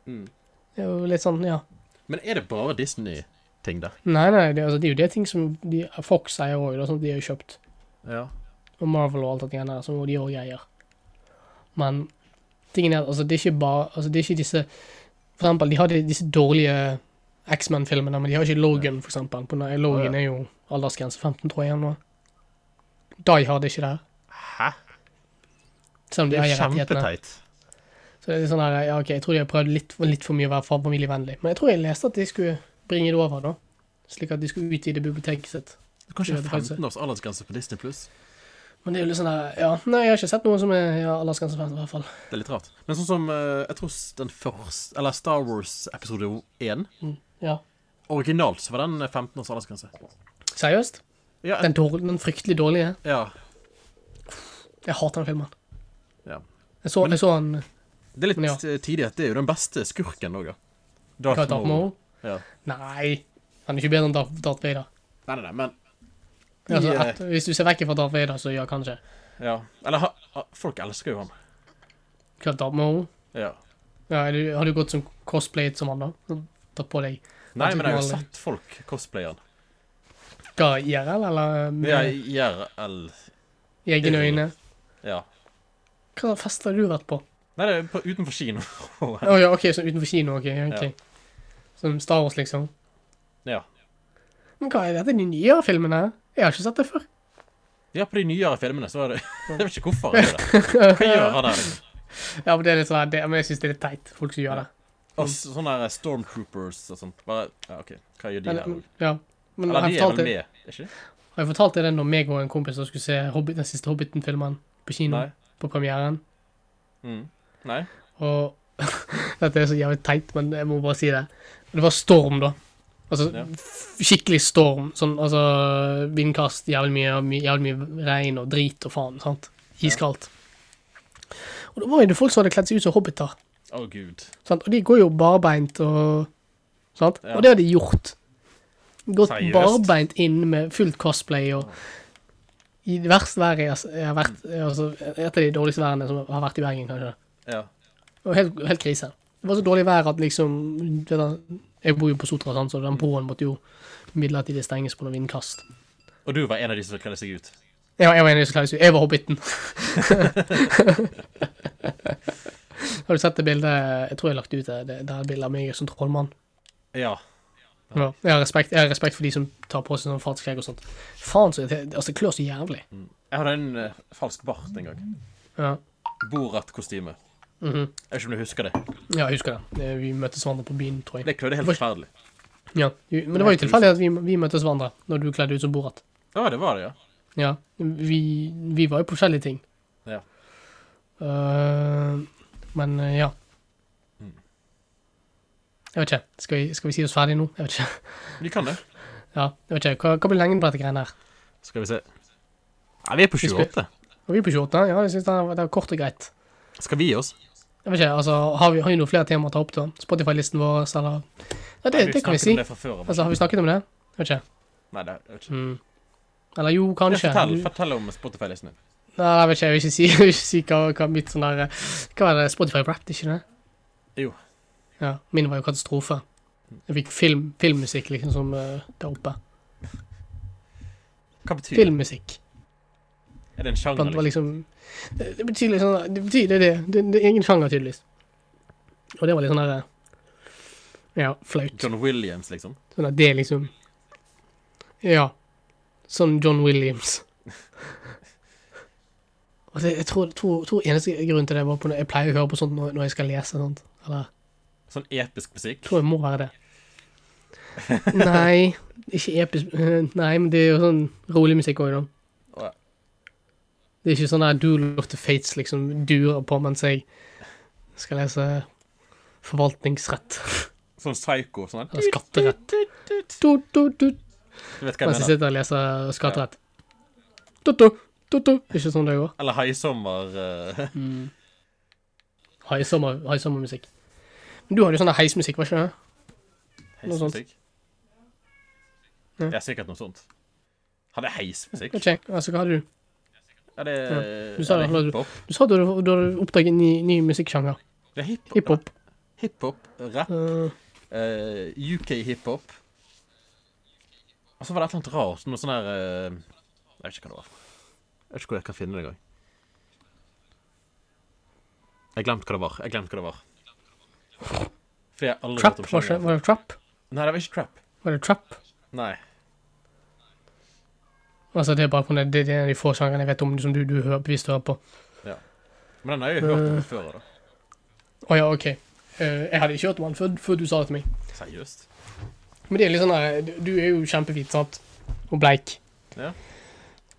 S1: Mm.
S2: Det er jo litt sånn, ja.
S1: Men er det bare Disney-ting der?
S2: Nei, nei, det, altså, det er jo det ting som de, Fox eier òg, sånn, de har jo kjøpt.
S1: Ja.
S2: og Marvel og alt det greiene der, som de òg eier. Men tingen er at altså, det er ikke bare altså, det er ikke disse For eksempel, de hadde disse dårlige X-Men-filmene, men de har ikke Logan, for eksempel. På, nei, Logan
S1: Å,
S2: er jo aldersgrense 15, tror jeg. eller noe. Die Hard er ikke der,
S1: Hæ?
S2: selv om
S1: Det er
S2: de eier
S1: jo
S2: rettighetene.
S1: kjempeteit.
S2: Så det er litt sånn der, ja, ok, Jeg tror de har prøvd litt, for- litt for mye å være fa- familievennlig. Men jeg tror jeg leste at de skulle bringe det over, da. Slik at de skulle utvide biblioteket sitt.
S1: Du kan
S2: Ja,
S1: ikke
S2: det
S1: ha
S2: faktisk-
S1: 15 års aldersgrense på Disney pluss.
S2: Men det er jo litt sånn der, ja, Nei, jeg har ikke sett noen som er ja, aldersgrense 15, i hvert fall.
S1: Det er litt rart. Men sånn som eh, Jeg tror s- den første Eller Star Wars episode 1
S2: Mm, Ja.
S1: Originalt så var den 15 års aldersgrense.
S2: Seriøst?
S1: Ja.
S2: Den, dårl- den fryktelig dårlige.
S1: ja.
S2: Jeg hater den filmen.
S1: ja.
S2: Jeg så, jeg så den
S1: Det er litt
S2: Men ja.
S1: eh, tidlig at det er jo den beste skurken òg, ja.
S2: Hva heter den? Maul?
S1: Ja.
S2: Nei, han er ikke bedre enn Darth, Darth Vader.
S1: Nei, nei, nei, men I,
S2: Altså,
S1: eh,
S2: et, hvis du ser vekk fra Darth Vader, så ja, kanskje.
S1: Ja. Eller ha, ha- folk elsker jo han.
S2: Hva heter Darth Maul?
S1: Ja.
S2: Ja, er du- har du gått som cosplayet som han, da? Sånn, Tatt på deg
S1: Nei, men jeg har jo
S2: Maul.
S1: sett folk cosplaye han.
S2: hva, IRL, eller med
S1: Ja, IRL
S2: egne øyne?
S1: Ja.
S2: Hva fest har du vært på?
S1: Nei, det er på, utenfor kino.
S2: Å ja, OK, så utenfor kino, OK. ok. Som Star Wars, liksom.
S1: ja.
S2: Men hva er dette, de nyere filmene? Jeg har ikke sett det før.
S1: Ja, på de nyere filmene så er det Jeg vet ikke hvorfor. han gjør det Hva gjør han der? liksom?
S2: Ja, men det er litt sånn, her, det, men jeg syns det er litt teit, folk som gjør det.
S1: Og s- sånne der Stormtroopers og sånt. Bare, ja, ok, Hva gjør de
S2: Men,
S1: her? nå?
S2: ja. Men
S1: Eller
S2: jeg
S1: de er
S2: fortalte-
S1: vel med, er ikke det?
S2: Har jeg fortalt deg det når meg og en kompis da skulle se Hobbit, den siste Hobbiten-filmen på kino?
S1: Nei.
S2: På premieren.
S1: Mm. Nei?
S2: Og dette er så jævlig teit, men jeg må bare si det. Det var storm, da. Altså
S1: Ja.
S2: f- skikkelig storm. Sånn altså vindkast, jævlig mye, my, jævlig mye regn og drit og faen. sant? Iskaldt. Og da var jo det folk som hadde kledd seg ut som hobbiter.
S1: Å, gud.
S2: sant? Og de går jo barbeint og sant?
S1: Ja.
S2: Og det har de gjort. Gått
S1: Seriøst?
S2: barbeint inn med fullt cosplay og I det verste været jeg har s- jeg har vært altså, Et av de dårligste værene som har vært i Bergen, kanskje.
S1: Ja.
S2: Og helt, helt krise. Det var så dårlig vær at liksom du vet da, Jeg bor jo på Sotra, sant, så den broen måtte jo midlertidig stenges på noen vindkast.
S1: Og du var en av de som kledde seg ut.
S2: Ja, jeg var enig, så klarer jeg ikke- Jeg var hobbiten. har du sett det bildet Jeg tror jeg har lagt ut det, det, det er et bilde av meg som trollmann.
S1: Ja.
S2: Ja, jeg, har respekt, jeg har respekt for de som tar på seg sånn fartsskjegg og sånt. Faen, så irriterende. Altså, det klør så jævlig.
S1: Jeg hadde en eh, falsk bart en gang.
S2: Ja.
S1: Borat-kostyme.
S2: Mhm.
S1: Jeg vet ikke om du husker det.
S2: ja, jeg husker det. Eh, Vi møttes hverandre på byen, tror jeg.
S1: Det klødde helt
S2: Hvor-
S1: forferdelig.
S2: Ja. vi- Men det var jo tilfeldig at vi, vi møttes hverandre når du kledde ut som Borat.
S1: Å, det var det, ja.
S2: Ja. Vi, vi var jo på forskjellige ting.
S1: Ja.
S2: Eh, men eh, ja.
S1: Mm.
S2: Jeg vet ikke. Skal vi, skal vi si oss ferdig nå? Jeg vet ikke.
S1: Vi kan det.
S2: Ja, jeg vet ikke. Hva, hva blir lengden på dette greiene her?
S1: Skal vi se. Nei, vi er på
S2: Vi spil-
S1: 28.
S2: Og vi er på 28. Ja, jeg synes det er, det er kort og greit.
S1: Skal vi gi oss?
S2: Jeg vet ikke, altså, har vi, har vi noen flere temaer å ta opp, da? Spotify-listen vår, eller Ja, det,
S1: Nei,
S2: det kan vi
S1: snakket
S2: si.
S1: om Det fra før,
S2: Altså, har vi snakket om det? Jeg vet ikke.
S1: Nei, det jeg vet ikke.
S2: Mm. Eller jo, kanskje.
S1: Fortell,
S2: Du-
S1: fortell om Spotify-listen din.
S2: Nei, jeg vet ikke, jeg vil ikke si, jeg vil ikke si hva, hva mitt sånn der Hva var det? Spotify-rap, ikke det?
S1: Jo.
S2: Ja. Min var jo katastrofe. Jeg fikk film, filmmusikk liksom som eh, der oppe.
S1: Hva betyr det?
S2: Filmmusikk.
S1: Er det en sjanger?
S2: Blant var
S1: Liksom?
S2: liksom Det det betyr litt sånn Det betyr det, det. Det, det er egen sjanger, tydeligvis. Og det var litt sånn der Ja, flaut.
S1: John Williams, liksom?
S2: Sånn at det liksom Ja. Sånn John Williams. Og det, jeg tror, tror, tror eneste grunn til det var på når jeg pleier å høre på sånt når, når jeg skal lese. sånt. Eller
S1: Sånn episk musikk?
S2: tror jeg må være det. Nei, ikke episk Nei, men det er jo sånn rolig musikk òg, da.
S1: Å, ja.
S2: Det er ikke sånn der Duel of the Fates liksom durer på mens jeg skal lese forvaltningsrett
S1: Sånn psycho? Sånn
S2: eller skatterett. Du, du, du,
S1: Du vet hva jeg
S2: mens jeg
S1: mener?
S2: sitter og leser skatterett. Toto, toto. Ikke sånn det går.
S1: Eller Haisommer eh,
S2: Haisommer- Haisommermusikk. Men du hadde jo sånn der heismusikk, var ikke det? Noe sånt.
S1: heismusikk.
S2: Ja.
S1: Ja, sikkert noe sånt. Hadde jeg heismusikk?
S2: Vet ikke jeg. Altså, hva hadde du?
S1: Ja, det er,
S2: Du sa
S1: er
S2: det,
S1: det hiphop.
S2: Du sa du, hadde- du hadde oppdaget en ny, ny musikksjanger.
S1: Det er hiphop.
S2: Hiphop.
S1: Hiphop, rap,
S2: Eh,
S1: eh, UK hiphop. Og så var det et eller annet rart. Noe sånn her eh, Jeg vet ikke hva det var. Jeg vet ikke hvor jeg kan finne det engang. Jeg glemte hva det var. Jeg glemte hva det var. Fordi jeg aldri hørt
S2: trap,
S1: om
S2: var ikke
S1: sjangeren.
S2: var det trap?
S1: Nei, det var ikke trap.
S2: Var det trap?
S1: Nei.
S2: Altså, det er bare på grunn av- det, det er en av de få sjangerne jeg vet om som du, du hører, bevisst hører på.
S1: Men den har jeg jo hørt om før. da.
S2: Å ja, OK. Eh, jeg hadde ikke hørt om han før, før du sa det til meg.
S1: Seriøst?
S2: Men det er litt sånn der, du- Du er jo kjempefint, sant? Og bleik.
S1: Ja.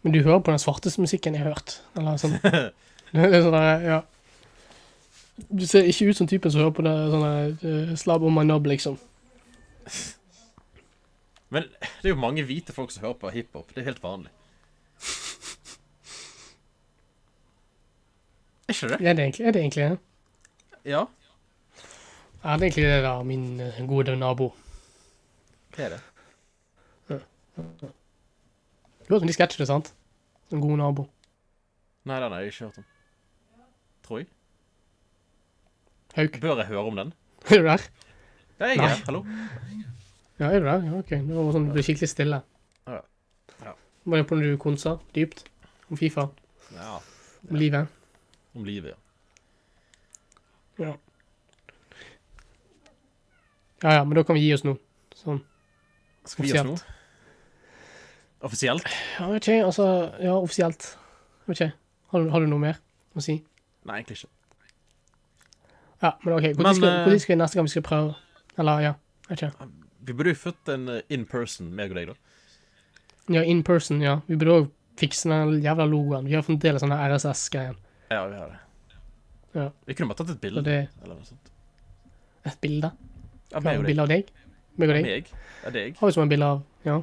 S2: Men du hører på den svarteste musikken jeg har hørt. Eller sånn. Det er sånn der, ja. Du ser ikke ut som typen som hører på det sånne eh, slabb om my knob, liksom.
S1: Men det er jo mange hvite folk som hører på hiphop. Det er helt vanlig. Er ikke det?
S2: Er det egentlig er det? Egentlig, det?
S1: Ja,
S2: er det egentlig det da, min eh, gode nabo?
S1: det er det.
S2: Du hørte om de sketsjene, sant? En god nabo.
S1: Nei, den har jeg ikke hørt om. Tror jeg.
S2: Hauk.
S1: Bør jeg høre om den?
S2: Er du der?
S1: Ja, jeg er
S2: Nei.
S1: her. Hallo?
S2: Ja, er du der? Ja, ok. Det var sånn, det ble skikkelig stille.
S1: Ja. Ja.
S2: Var det på når du konsa dypt? Om Fifa?
S1: Ja.
S2: Om livet?
S1: Om livet, ja.
S2: Ja. Ja, ja, men da kan vi gi oss nå. Sånn.
S1: Skal vi gi oss nå? Offisielt?
S2: Ja, vet ikke, jeg, altså, ja, offisielt. Vet ikke, jeg. har du, har du noe mer å si?
S1: Nei, egentlig ikke.
S2: Ja, men ok,
S1: Men,
S2: hvordan skal,
S1: eh,
S2: hvordan skal vi neste gang vi skal prøve? Eller, ja, vet ikke. jeg.
S1: Vi burde jo fått en eh, in person, meg og deg, da.
S2: Ja, in person, ja. Vi burde også fikse den jævla logoen. Vi har fremdeles sånne RSS-greien.
S1: Ja, vi har det.
S2: Ja.
S1: Vi kunne bare tatt et
S2: Så
S1: bilde,
S2: det
S1: eller noe sånt.
S2: er et bilde.
S1: Av
S2: Har
S1: meg
S2: du
S1: og deg.
S2: bilde av deg? Meg og deg?
S1: Meg? Av deg?
S2: Har vi som et bilde av, ja.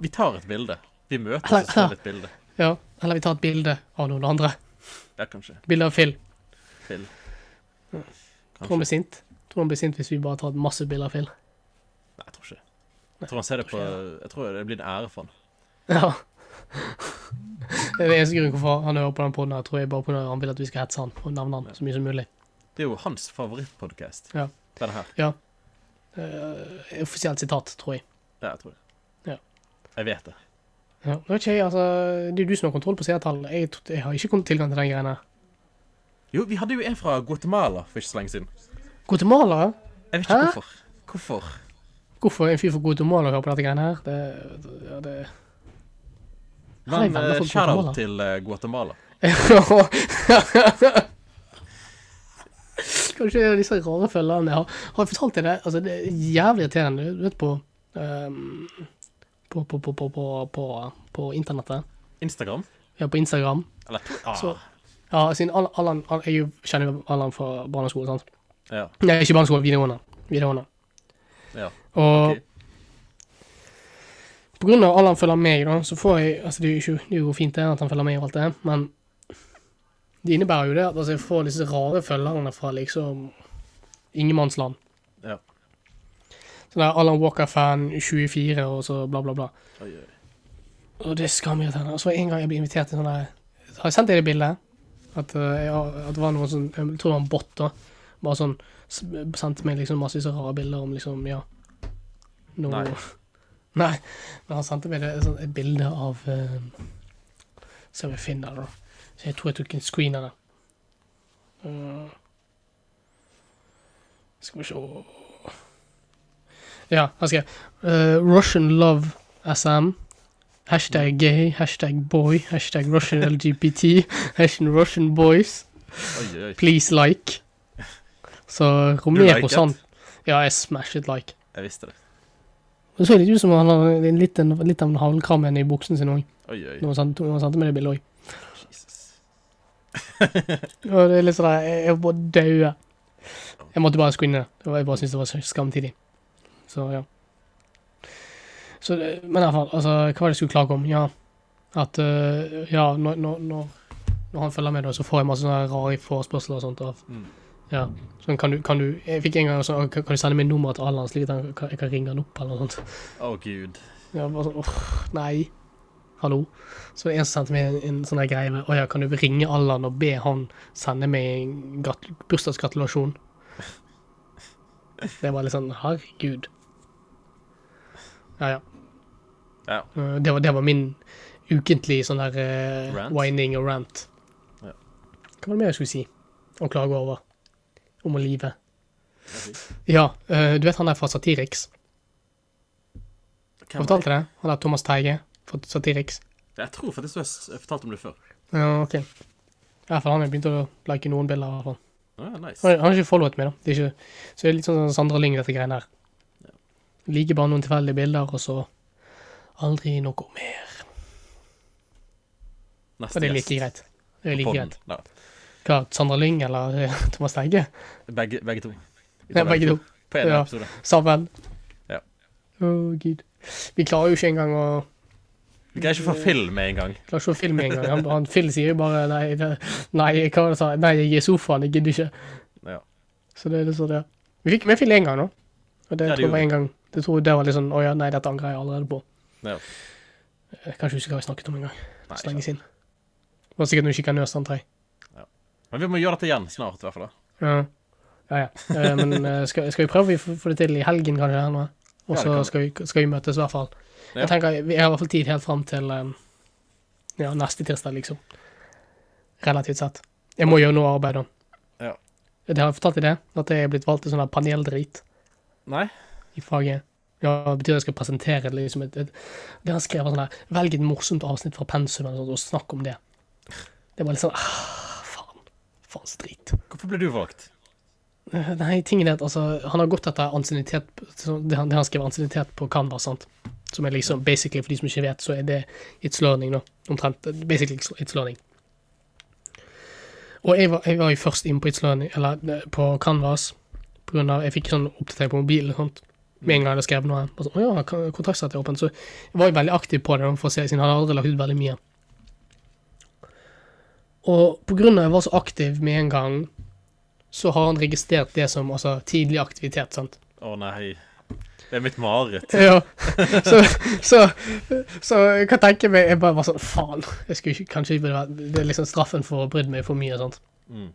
S1: Vi tar et bilde. Vi møtes
S2: Eller-
S1: og tar et bilde.
S2: Ja, eller vi tar et bilde av noen andre.
S1: Ja, kanskje.
S2: Bilde av Phil.
S1: Phil.
S2: Tror han
S1: Kanskje.
S2: blir sint. Tror han blir sint hvis vi bare tar masse bilder av Phil.
S1: Nei, jeg tror ikke det. Jeg tror han ser det på Jeg tror det blir en ære for han.
S2: Ja. Det er eneste grunnen hvorfor han hører på den podden her, tror jeg bare på grunn av at han vil at vi skal hetse han og nevne han så mye som mulig.
S1: Det er jo hans favorittpodkast.
S2: Ja.
S1: Denne her.
S2: Eh, offisielt sitat, tror jeg.
S1: Ja, jeg tror det.
S2: Ja.
S1: Jeg vet det.
S2: Ja. Nå vet ikke jeg, altså, Det er jo du som har kontroll på seertall. Jeg, tro- jeg har ikke kommet tilgang til den greiene. her.
S1: Jo, vi hadde jo en fra Guatemala for ikke så lenge siden.
S2: Guatemala?
S1: Jeg vet ikke
S2: Hæ?
S1: hvorfor. Hvorfor?
S2: Hvorfor er en fyr fra Guatemala hører på dette greiene her? Det, det, ja, det Har jeg
S1: Men
S2: venner
S1: eh,
S2: fra
S1: shout-out
S2: Guatemala?
S1: til eh, Guatemala.
S2: Kanskje en av disse rare følgerne jeg har. Har jeg fortalt deg det? Altså, det er jævlig irriterende. Du vet på ehm, på, på, på, på, på, på, på internettet.
S1: Instagram?
S2: Ja, på Instagram.
S1: Eller to- ah,
S2: Så- Ja, siden Allan, Allan, Allan Jeg kjenner jo Allan fra barneskolen, sant?
S1: ja.
S2: Nei, ikke barneskolen, videregående. videregående.
S1: ja.
S2: Og
S1: Ok.
S2: på grunn av Allan følger meg, da, så får jeg Altså, det er jo, ikke, det er jo fint det at han følger meg og alt det, men det innebærer jo det at altså, jeg får disse rare følgerne fra liksom ingenmannsland.
S1: Ja.
S2: Sånn der Allan Walker-fan 24 og så bla, bla, bla.
S1: Oi, oi.
S2: Og det er skamirriterende. Og så en gang jeg ble invitert til sånn der Har jeg sendt deg det bildet? At, eh, jeg, har- at det var noen som Jeg tror det var en bot, da. Bare sånn s- Sendte meg liksom massevis av rare bilder om liksom Ja. Noe
S1: Nei.
S2: Nei. Men han sendte meg det, sånn, et bilde av eh, Se om jeg finner det, da. Så jeg tror jeg tok en screen av det. Eh, skal vi se Ja, her skal jeg. Eh, Russian love SM.
S1: Mm.
S2: Hashtag gay, hashtag boy, hashtag Russian LGBT, hashtag Russian boys.
S1: oi, oi.
S2: Please like. Så
S1: Du
S2: Romero
S1: liket?
S2: sånn. Ja, jeg smashet like.
S1: Jeg visste det.
S2: Det så litt ut som han har en litt, en, litt av en halvkram igjen i buksen sin òg,
S1: Oi, oi.
S2: når han sendte- når han sendte meg det bildet òg.
S1: Jesus.
S2: Og det er litt sånn der, jeg, jeg bare daue. Jeg måtte bare screene det. det. var- Jeg bare syntes det var så skamtidig. eh, Så ja. Så, det- men i hvert fall, altså, hva var det jeg skulle klage om? Ja, At eh, ja, når, når, når, når han følger med, da, så får jeg masse sånne rare forespørsler og sånt. Av.
S1: Mm.
S2: Ja. Sånn, kan du, kan du, jeg fikk en gang sånn «Kan- Kan du sende meg nummeret til Allan, slik at han, kan, jeg kan ringe han opp, eller noe sånt.
S1: Å, gud.
S2: Ja, bare sånn, åh, nei. Hallo. Så det er en som sendte meg en, en sånn her greie med, åja, kan du ringe Allan og be han sende meg en grat- bursdagsgratulasjon? Det var litt sånn, herregud. Ja, ja.
S1: Ja.
S2: Eh, Det var, det var min ukentlige sånn her eh,
S1: Rant?
S2: whining og rant.
S1: Ja.
S2: Hva var det mer jeg skulle si? Å klage over. Om å live.
S1: Jeg fikk-
S2: Ja, eh, du vet han der fra Satiriks?
S1: Hvem
S2: Jeg
S1: var det?
S2: fortalte det. Han der Thomas Teige fra Satiriks.
S1: Jeg tror faktisk du har s- eh, fortalt om det før.
S2: Ja, ok. I hvert fall han har begynt å like noen bilder. i hvert fall.
S1: Å, ja,
S2: Han
S1: nice.
S2: han har ikke followet meg, da. Det er ikke, så det er litt sånn som Sandra Lyng, dette greiene her. Liker bare noen tilfeldige bilder, og så aldri noe mer.
S1: Neste
S2: Og det er
S1: gjest
S2: like greit. Det er
S1: på
S2: like
S1: podden.
S2: greit.
S1: Ja.
S2: Hva, Sandra Lyng eller eh, Thomas Teige?
S1: Begge, begge to. Vi tar
S2: Nei, begge to.
S1: På en
S2: Ja.
S1: episode.
S2: Sammen.
S1: Ja.
S2: Å, gud. Vi klarer jo ikke engang å
S1: Vi greier ikke å få film med en gang.
S2: Klarer ikke å filme engang. Han, han Phil sier jo bare nei, det, nei, hva var det han sa? Nei, jeg er i sofaen, jeg gidder ikke.
S1: Ja.
S2: Så det er litt sånn, ja. Vi fikk, vi fikk én gang nå. Og det,
S1: Ja, det
S2: tror jeg var
S1: gjorde
S2: en gang. Det tror jeg det var litt sånn Å ja, nei, dette angrer jeg allerede på.
S1: Ja.
S2: Jeg kan ikke huske hva jeg snakket om engang.
S1: Nei,
S2: Så lenge siden. Det var sikkert noe sjikanøst, antar jeg.
S1: Men vi må gjøre dette igjen snart, i hvert fall. da.
S2: Ja, ja. ja. Eh, Men eh, skal, skal vi prøve å få- få det til i helgen, kanskje? eller noe?
S1: Ja,
S2: Og
S1: det
S2: så
S1: kan vi.
S2: skal, vi- skal vi møtes, i hvert fall.
S1: Ja.
S2: Jeg tenker, Vi har i hvert fall tid helt fram til eh, ja, neste tirsdag, liksom. Relativt sett. Jeg må gjøre noe arbeid, da.
S1: Ja.
S2: Det har jeg fortalt deg det? At jeg er blitt valgt til sånn der paneldrit?
S1: Nei?
S2: i faget. Ja, det betyr at jeg skal presentere det liksom et, et Det han skrev var sånn her Velg et morsomt avsnitt fra pensum eller noe sånt, og snakk om det. Det var litt sånn ah, Faen. Faens drit.
S1: Hvorfor ble du valgt?
S2: Eh, Nei, tingen er at altså Han har gått etter ansiennitet så Det han, det han skrev ansiennitet på Canva, sant. Som er liksom basically, for de som ikke vet, så er det it's learning, da. Omtrent. eh, Basically it's- it's learning. Og jeg var, jeg var jo først inne på It's Learning, eller eh, på Canvas, på grunn av Jeg fikk sånn oppdatering på mobilen og sånt. Med en gang jeg hadde skrevet noe. Bare sånn, å ja, kan- kontraktsrett er åpen. Så jeg var jo veldig aktiv på det, da, for å se, siden han hadde aldri lagt ut veldig mye. Og på grunn av jeg var så aktiv med en gang, så har han registrert det som altså, tidlig aktivitet, sant.
S1: Å nei. Det er mitt mareritt.
S2: Ja. Så, så, så jeg kan tenke meg Jeg bare var sånn Faen. Jeg skulle ikke, kanskje ikke burde vært Det er liksom straffen for å ha brydd meg for mye. Sant?
S1: Mm.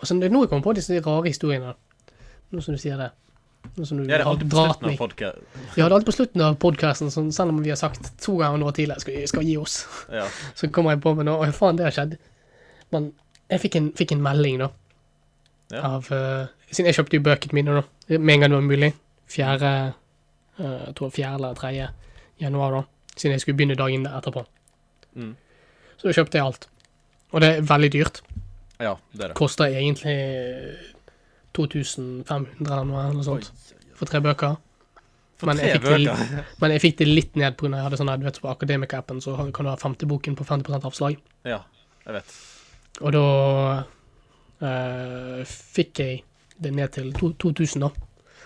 S2: Og så det er nå jeg kommer på disse rare historiene. Nå som du sier det. Nå som du
S1: Ja, det er
S2: har
S1: alltid på
S2: dratt
S1: slutten av
S2: meg.
S1: podkast.
S2: Ja, det er alltid på slutten av podkasten, sånn, selv om vi har sagt to ganger nå tidligere skal, skal gi oss,
S1: Ja.
S2: så kommer jeg på meg nå Å, faen, det har skjedd. Men jeg fikk en, fikk en melding, da.
S1: Ja.
S2: Av, eh, siden jeg kjøpte jo bøkene mine, da, med en gang det var mulig. Fjerde eh, Jeg tror fjerde eller tredje januar, da. Siden jeg skulle begynne dagen etterpå.
S1: Mm.
S2: Så kjøpte jeg alt. Og det er veldig dyrt.
S1: ja, det er det.
S2: Koster egentlig 2500 eller noe, eller noe
S1: Oi.
S2: sånt for tre bøker.
S1: For
S2: Men
S1: tre
S2: jeg fikk til-
S1: bøker.
S2: Men jeg fikk det litt ned pga. jeg hadde sånn her, du vet, på Akademika-appen så kan du ha femte boken på 50 avslag.
S1: Ja, jeg vet.
S2: Og da eh, fikk jeg det ned til to- 2000, da.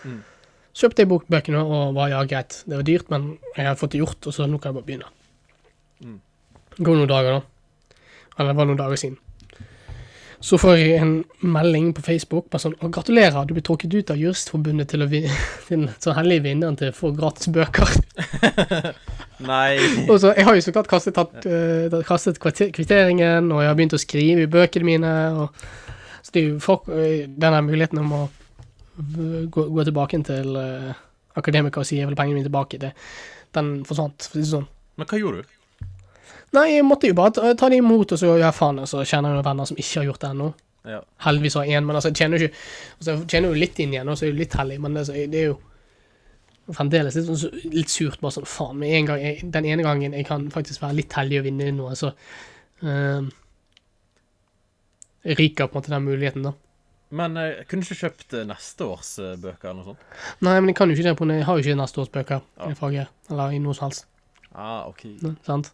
S1: Mm.
S2: Så kjøpte jeg bok- bøkene og var ja, greit. Det var dyrt, men jeg har fått det gjort, og så nå kan jeg bare begynne.
S1: Mm.
S2: Det går noen dager, da. Eller det var noen dager siden. Så får jeg en melding på Facebook bare sånn «Å, 'Gratulerer, du ble trukket ut av Juristforbundet til å vinne den så hellige vinneren til å få gratis bøker'.
S1: Nei.
S2: Og så, jeg har jo så klart kastet, tatt, eh, tatt- kastet kvitter- kvitteringen, og jeg har begynt å skrive i bøkene mine. Og, så det er jo for, eh, denne muligheten om å v- gå, gå tilbake til uh, akademika og si jeg vil ha pengene mine tilbake, det, den forsvant. For å si det sånn.
S1: Men hva gjorde du?
S2: Nei, jeg måtte jo bare ta, ta det imot, og så ja, faen, og så kjenner jeg noen venner som ikke har gjort det ennå.
S1: Ja.
S2: Heldigvis har jeg én, men altså, jeg tjener jo ikke altså, Jeg tjener jo litt inn igjen, og så er jeg jo litt heldig, men det, altså, det er jo fremdeles litt, sånn, litt surt. Bare sånn, faen, med en gang, jeg, den ene gangen jeg kan faktisk være litt heldig og vinne noe, så ehm, Jeg ryker på en måte den muligheten, da.
S1: Men eh, jeg kunne ikke kjøpt eh, neste års eh, bøker eller noe sånt?
S2: Nei, men jeg kan jo ikke det, på, jeg har jo ikke neste års bøker
S1: Ja.
S2: i faget, eller i noe som helst.
S1: Ah, ok.
S2: Ne, sant?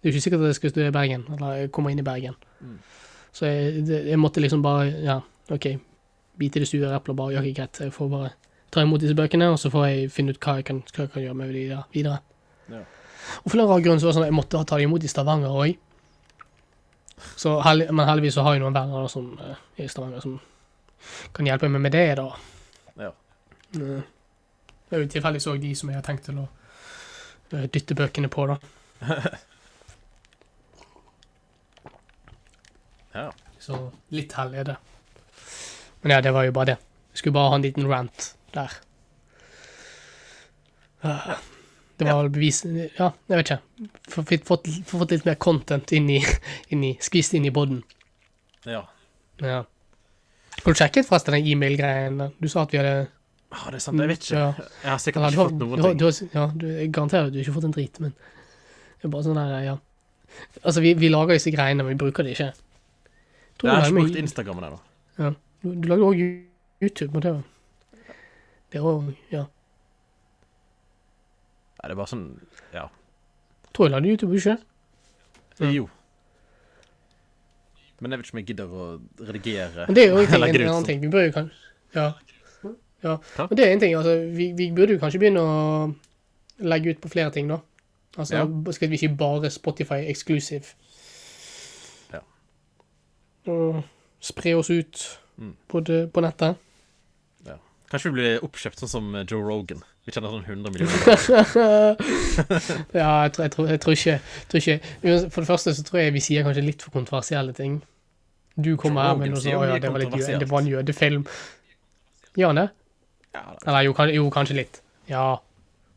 S2: Det er jo ikke sikkert at jeg skal studere i Bergen, eller komme inn i Bergen.
S1: Mm.
S2: Så jeg, det, jeg måtte liksom bare Ja, OK. Bite i det sure eplet og bare gjøre det greit. Jeg får bare ta imot disse bøkene, og så får jeg finne ut hva jeg kan, hva jeg kan gjøre med de der videre.
S1: Ja.
S2: Og for en rar grunn så var det sånn at jeg måtte ta det imot i Stavanger òg. Heldig, men heldigvis så har jeg noen venner da, som, eh, i Stavanger som kan hjelpe meg med det, da.
S1: Ja.
S2: Eh, Det er jo tilfeldigvis òg de som jeg har tenkt til å eh, dytte bøkene på, da.
S1: Ja.
S2: Så litt hell er det. Men ja, det var jo bare det. Jeg skulle bare ha en liten rant der. Ah, Det var vel bevis Ja, jeg vet ikke. Få- Fått, fått, fått litt mer content inn i, inn i Skvist inn i boden.
S1: ja.
S2: Ja. Har du sjekket forresten den e-mail-greien? der? Du sa at vi hadde
S1: Ah, det er sant, jeg vet ikke.
S2: Mm. Ja.
S1: Jeg har sikkert
S2: Eller, du
S1: ikke
S2: har,
S1: fått
S2: du
S1: noen
S2: har,
S1: ting.
S2: du har, ja, du, jeg garanterer at du ikke har fått en drit, men det er bare sånn der, ja. Altså, vi, vi lager disse greiene, men vi bruker det ikke. Jeg tror
S1: Jeg har
S2: du,
S1: ikke
S2: lagde
S1: brukt
S2: mye-
S1: Instagram ennå.
S2: du, du lager også YouTube, men det var Det var ja.
S1: Nei, Det er bare sånn Ja.
S2: Tror jeg lagde YouTube, ikke? Ja.
S1: Jo. Men jeg vet ikke om jeg gidder å redigere.
S2: Men det er jo en, ting,
S1: Legger
S2: en,
S1: det ut
S2: annen
S1: som-
S2: ting. Vi bør jo kanskje Ja. ja.
S1: Takk.
S2: Men det er en ting, altså. Vi, vi burde jo kanskje begynne å legge ut på flere ting, da. Altså, skal vi ikke bare Spotify exclusive?
S1: Ja.
S2: Og spre oss ut
S1: Mm.
S2: både på nettet.
S1: Kanskje vi blir oppkjøpt sånn som Joe Rogan. Vi tjener sånn 100 millioner.
S2: ja, jeg tror, jeg, tror, jeg, tror ikke, jeg tror ikke Uans- For det første så tror jeg vi sier kanskje litt for kontroversielle ting. Du kommer her med
S1: Rogan
S2: noe
S1: sier jo
S2: sånt 'Å ja,
S1: mye
S2: det var, litt, jø-
S1: kontroversielt.»
S2: det var en jødefilm'. Gjør han det?
S1: Ja, da.
S2: Eller jo, kan, jo kanskje litt. Ja.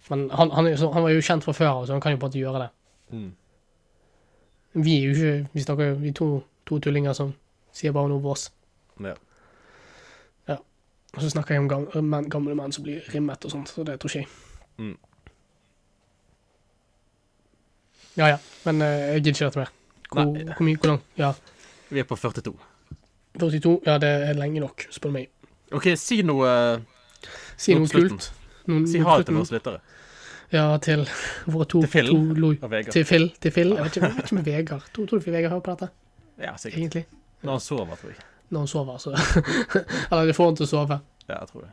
S2: Men han, han, er jo så, han var jo kjent fra før, så han kan jo bare gjøre det.
S1: Mm.
S2: Vi er jo ikke Vi snakker jo vi to, to tullinger som sier bare noe vås.
S1: Ja.
S2: Og så snakker jeg om gamle menn, gamle menn som blir rimmet og sånt, så det tror ikke jeg.
S1: Mm.
S2: Ja ja, men eh, jeg gidder ikke dette mer. Hvor,
S1: Nei.
S2: hvor mye? Hvor langt? Ja.
S1: Vi er på 42.
S2: 42? Ja, det er lenge nok, spør du meg.
S1: OK, si noe eh,
S2: Si
S1: mot
S2: noe
S1: slutten.
S2: kult. Noen,
S1: Si
S2: mot
S1: ha det til
S2: slutten.
S1: våre lyttere.
S2: Ja, til våre to
S1: Til Phil.
S2: To lo-
S1: Og Vegard.
S2: Til Phil. Til Phil. Jeg vet ikke, jeg vet ikke med Vegard. Tror, tror du ikke Vegard hører på dette,
S1: Ja, sikkert.
S2: egentlig?
S1: Når han sover, tror jeg.
S2: Når han sover, så Eller det får han til å sove.
S1: Ja, jeg tror det.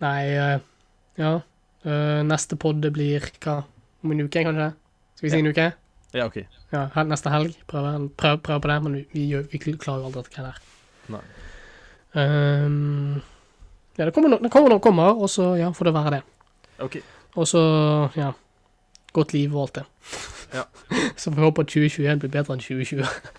S2: Nei, eh, ja Eh, Neste podd det blir hva? Om en uke, kanskje? Skal vi si en uke?
S1: Ja, OK.
S2: Ja, hel- neste helg. Prøve, prøv, prøv på det, men vi, vi, gjør- vi klarer jo aldri dette her.
S1: Nei.
S2: Ehm, ja, det kommer no- det kommer når det kommer, og så ja, får det være det.
S1: OK.
S2: Og så, ja Godt liv og alt det.
S1: Ja.
S2: så får vi håpe at 2021 blir bedre enn 2020.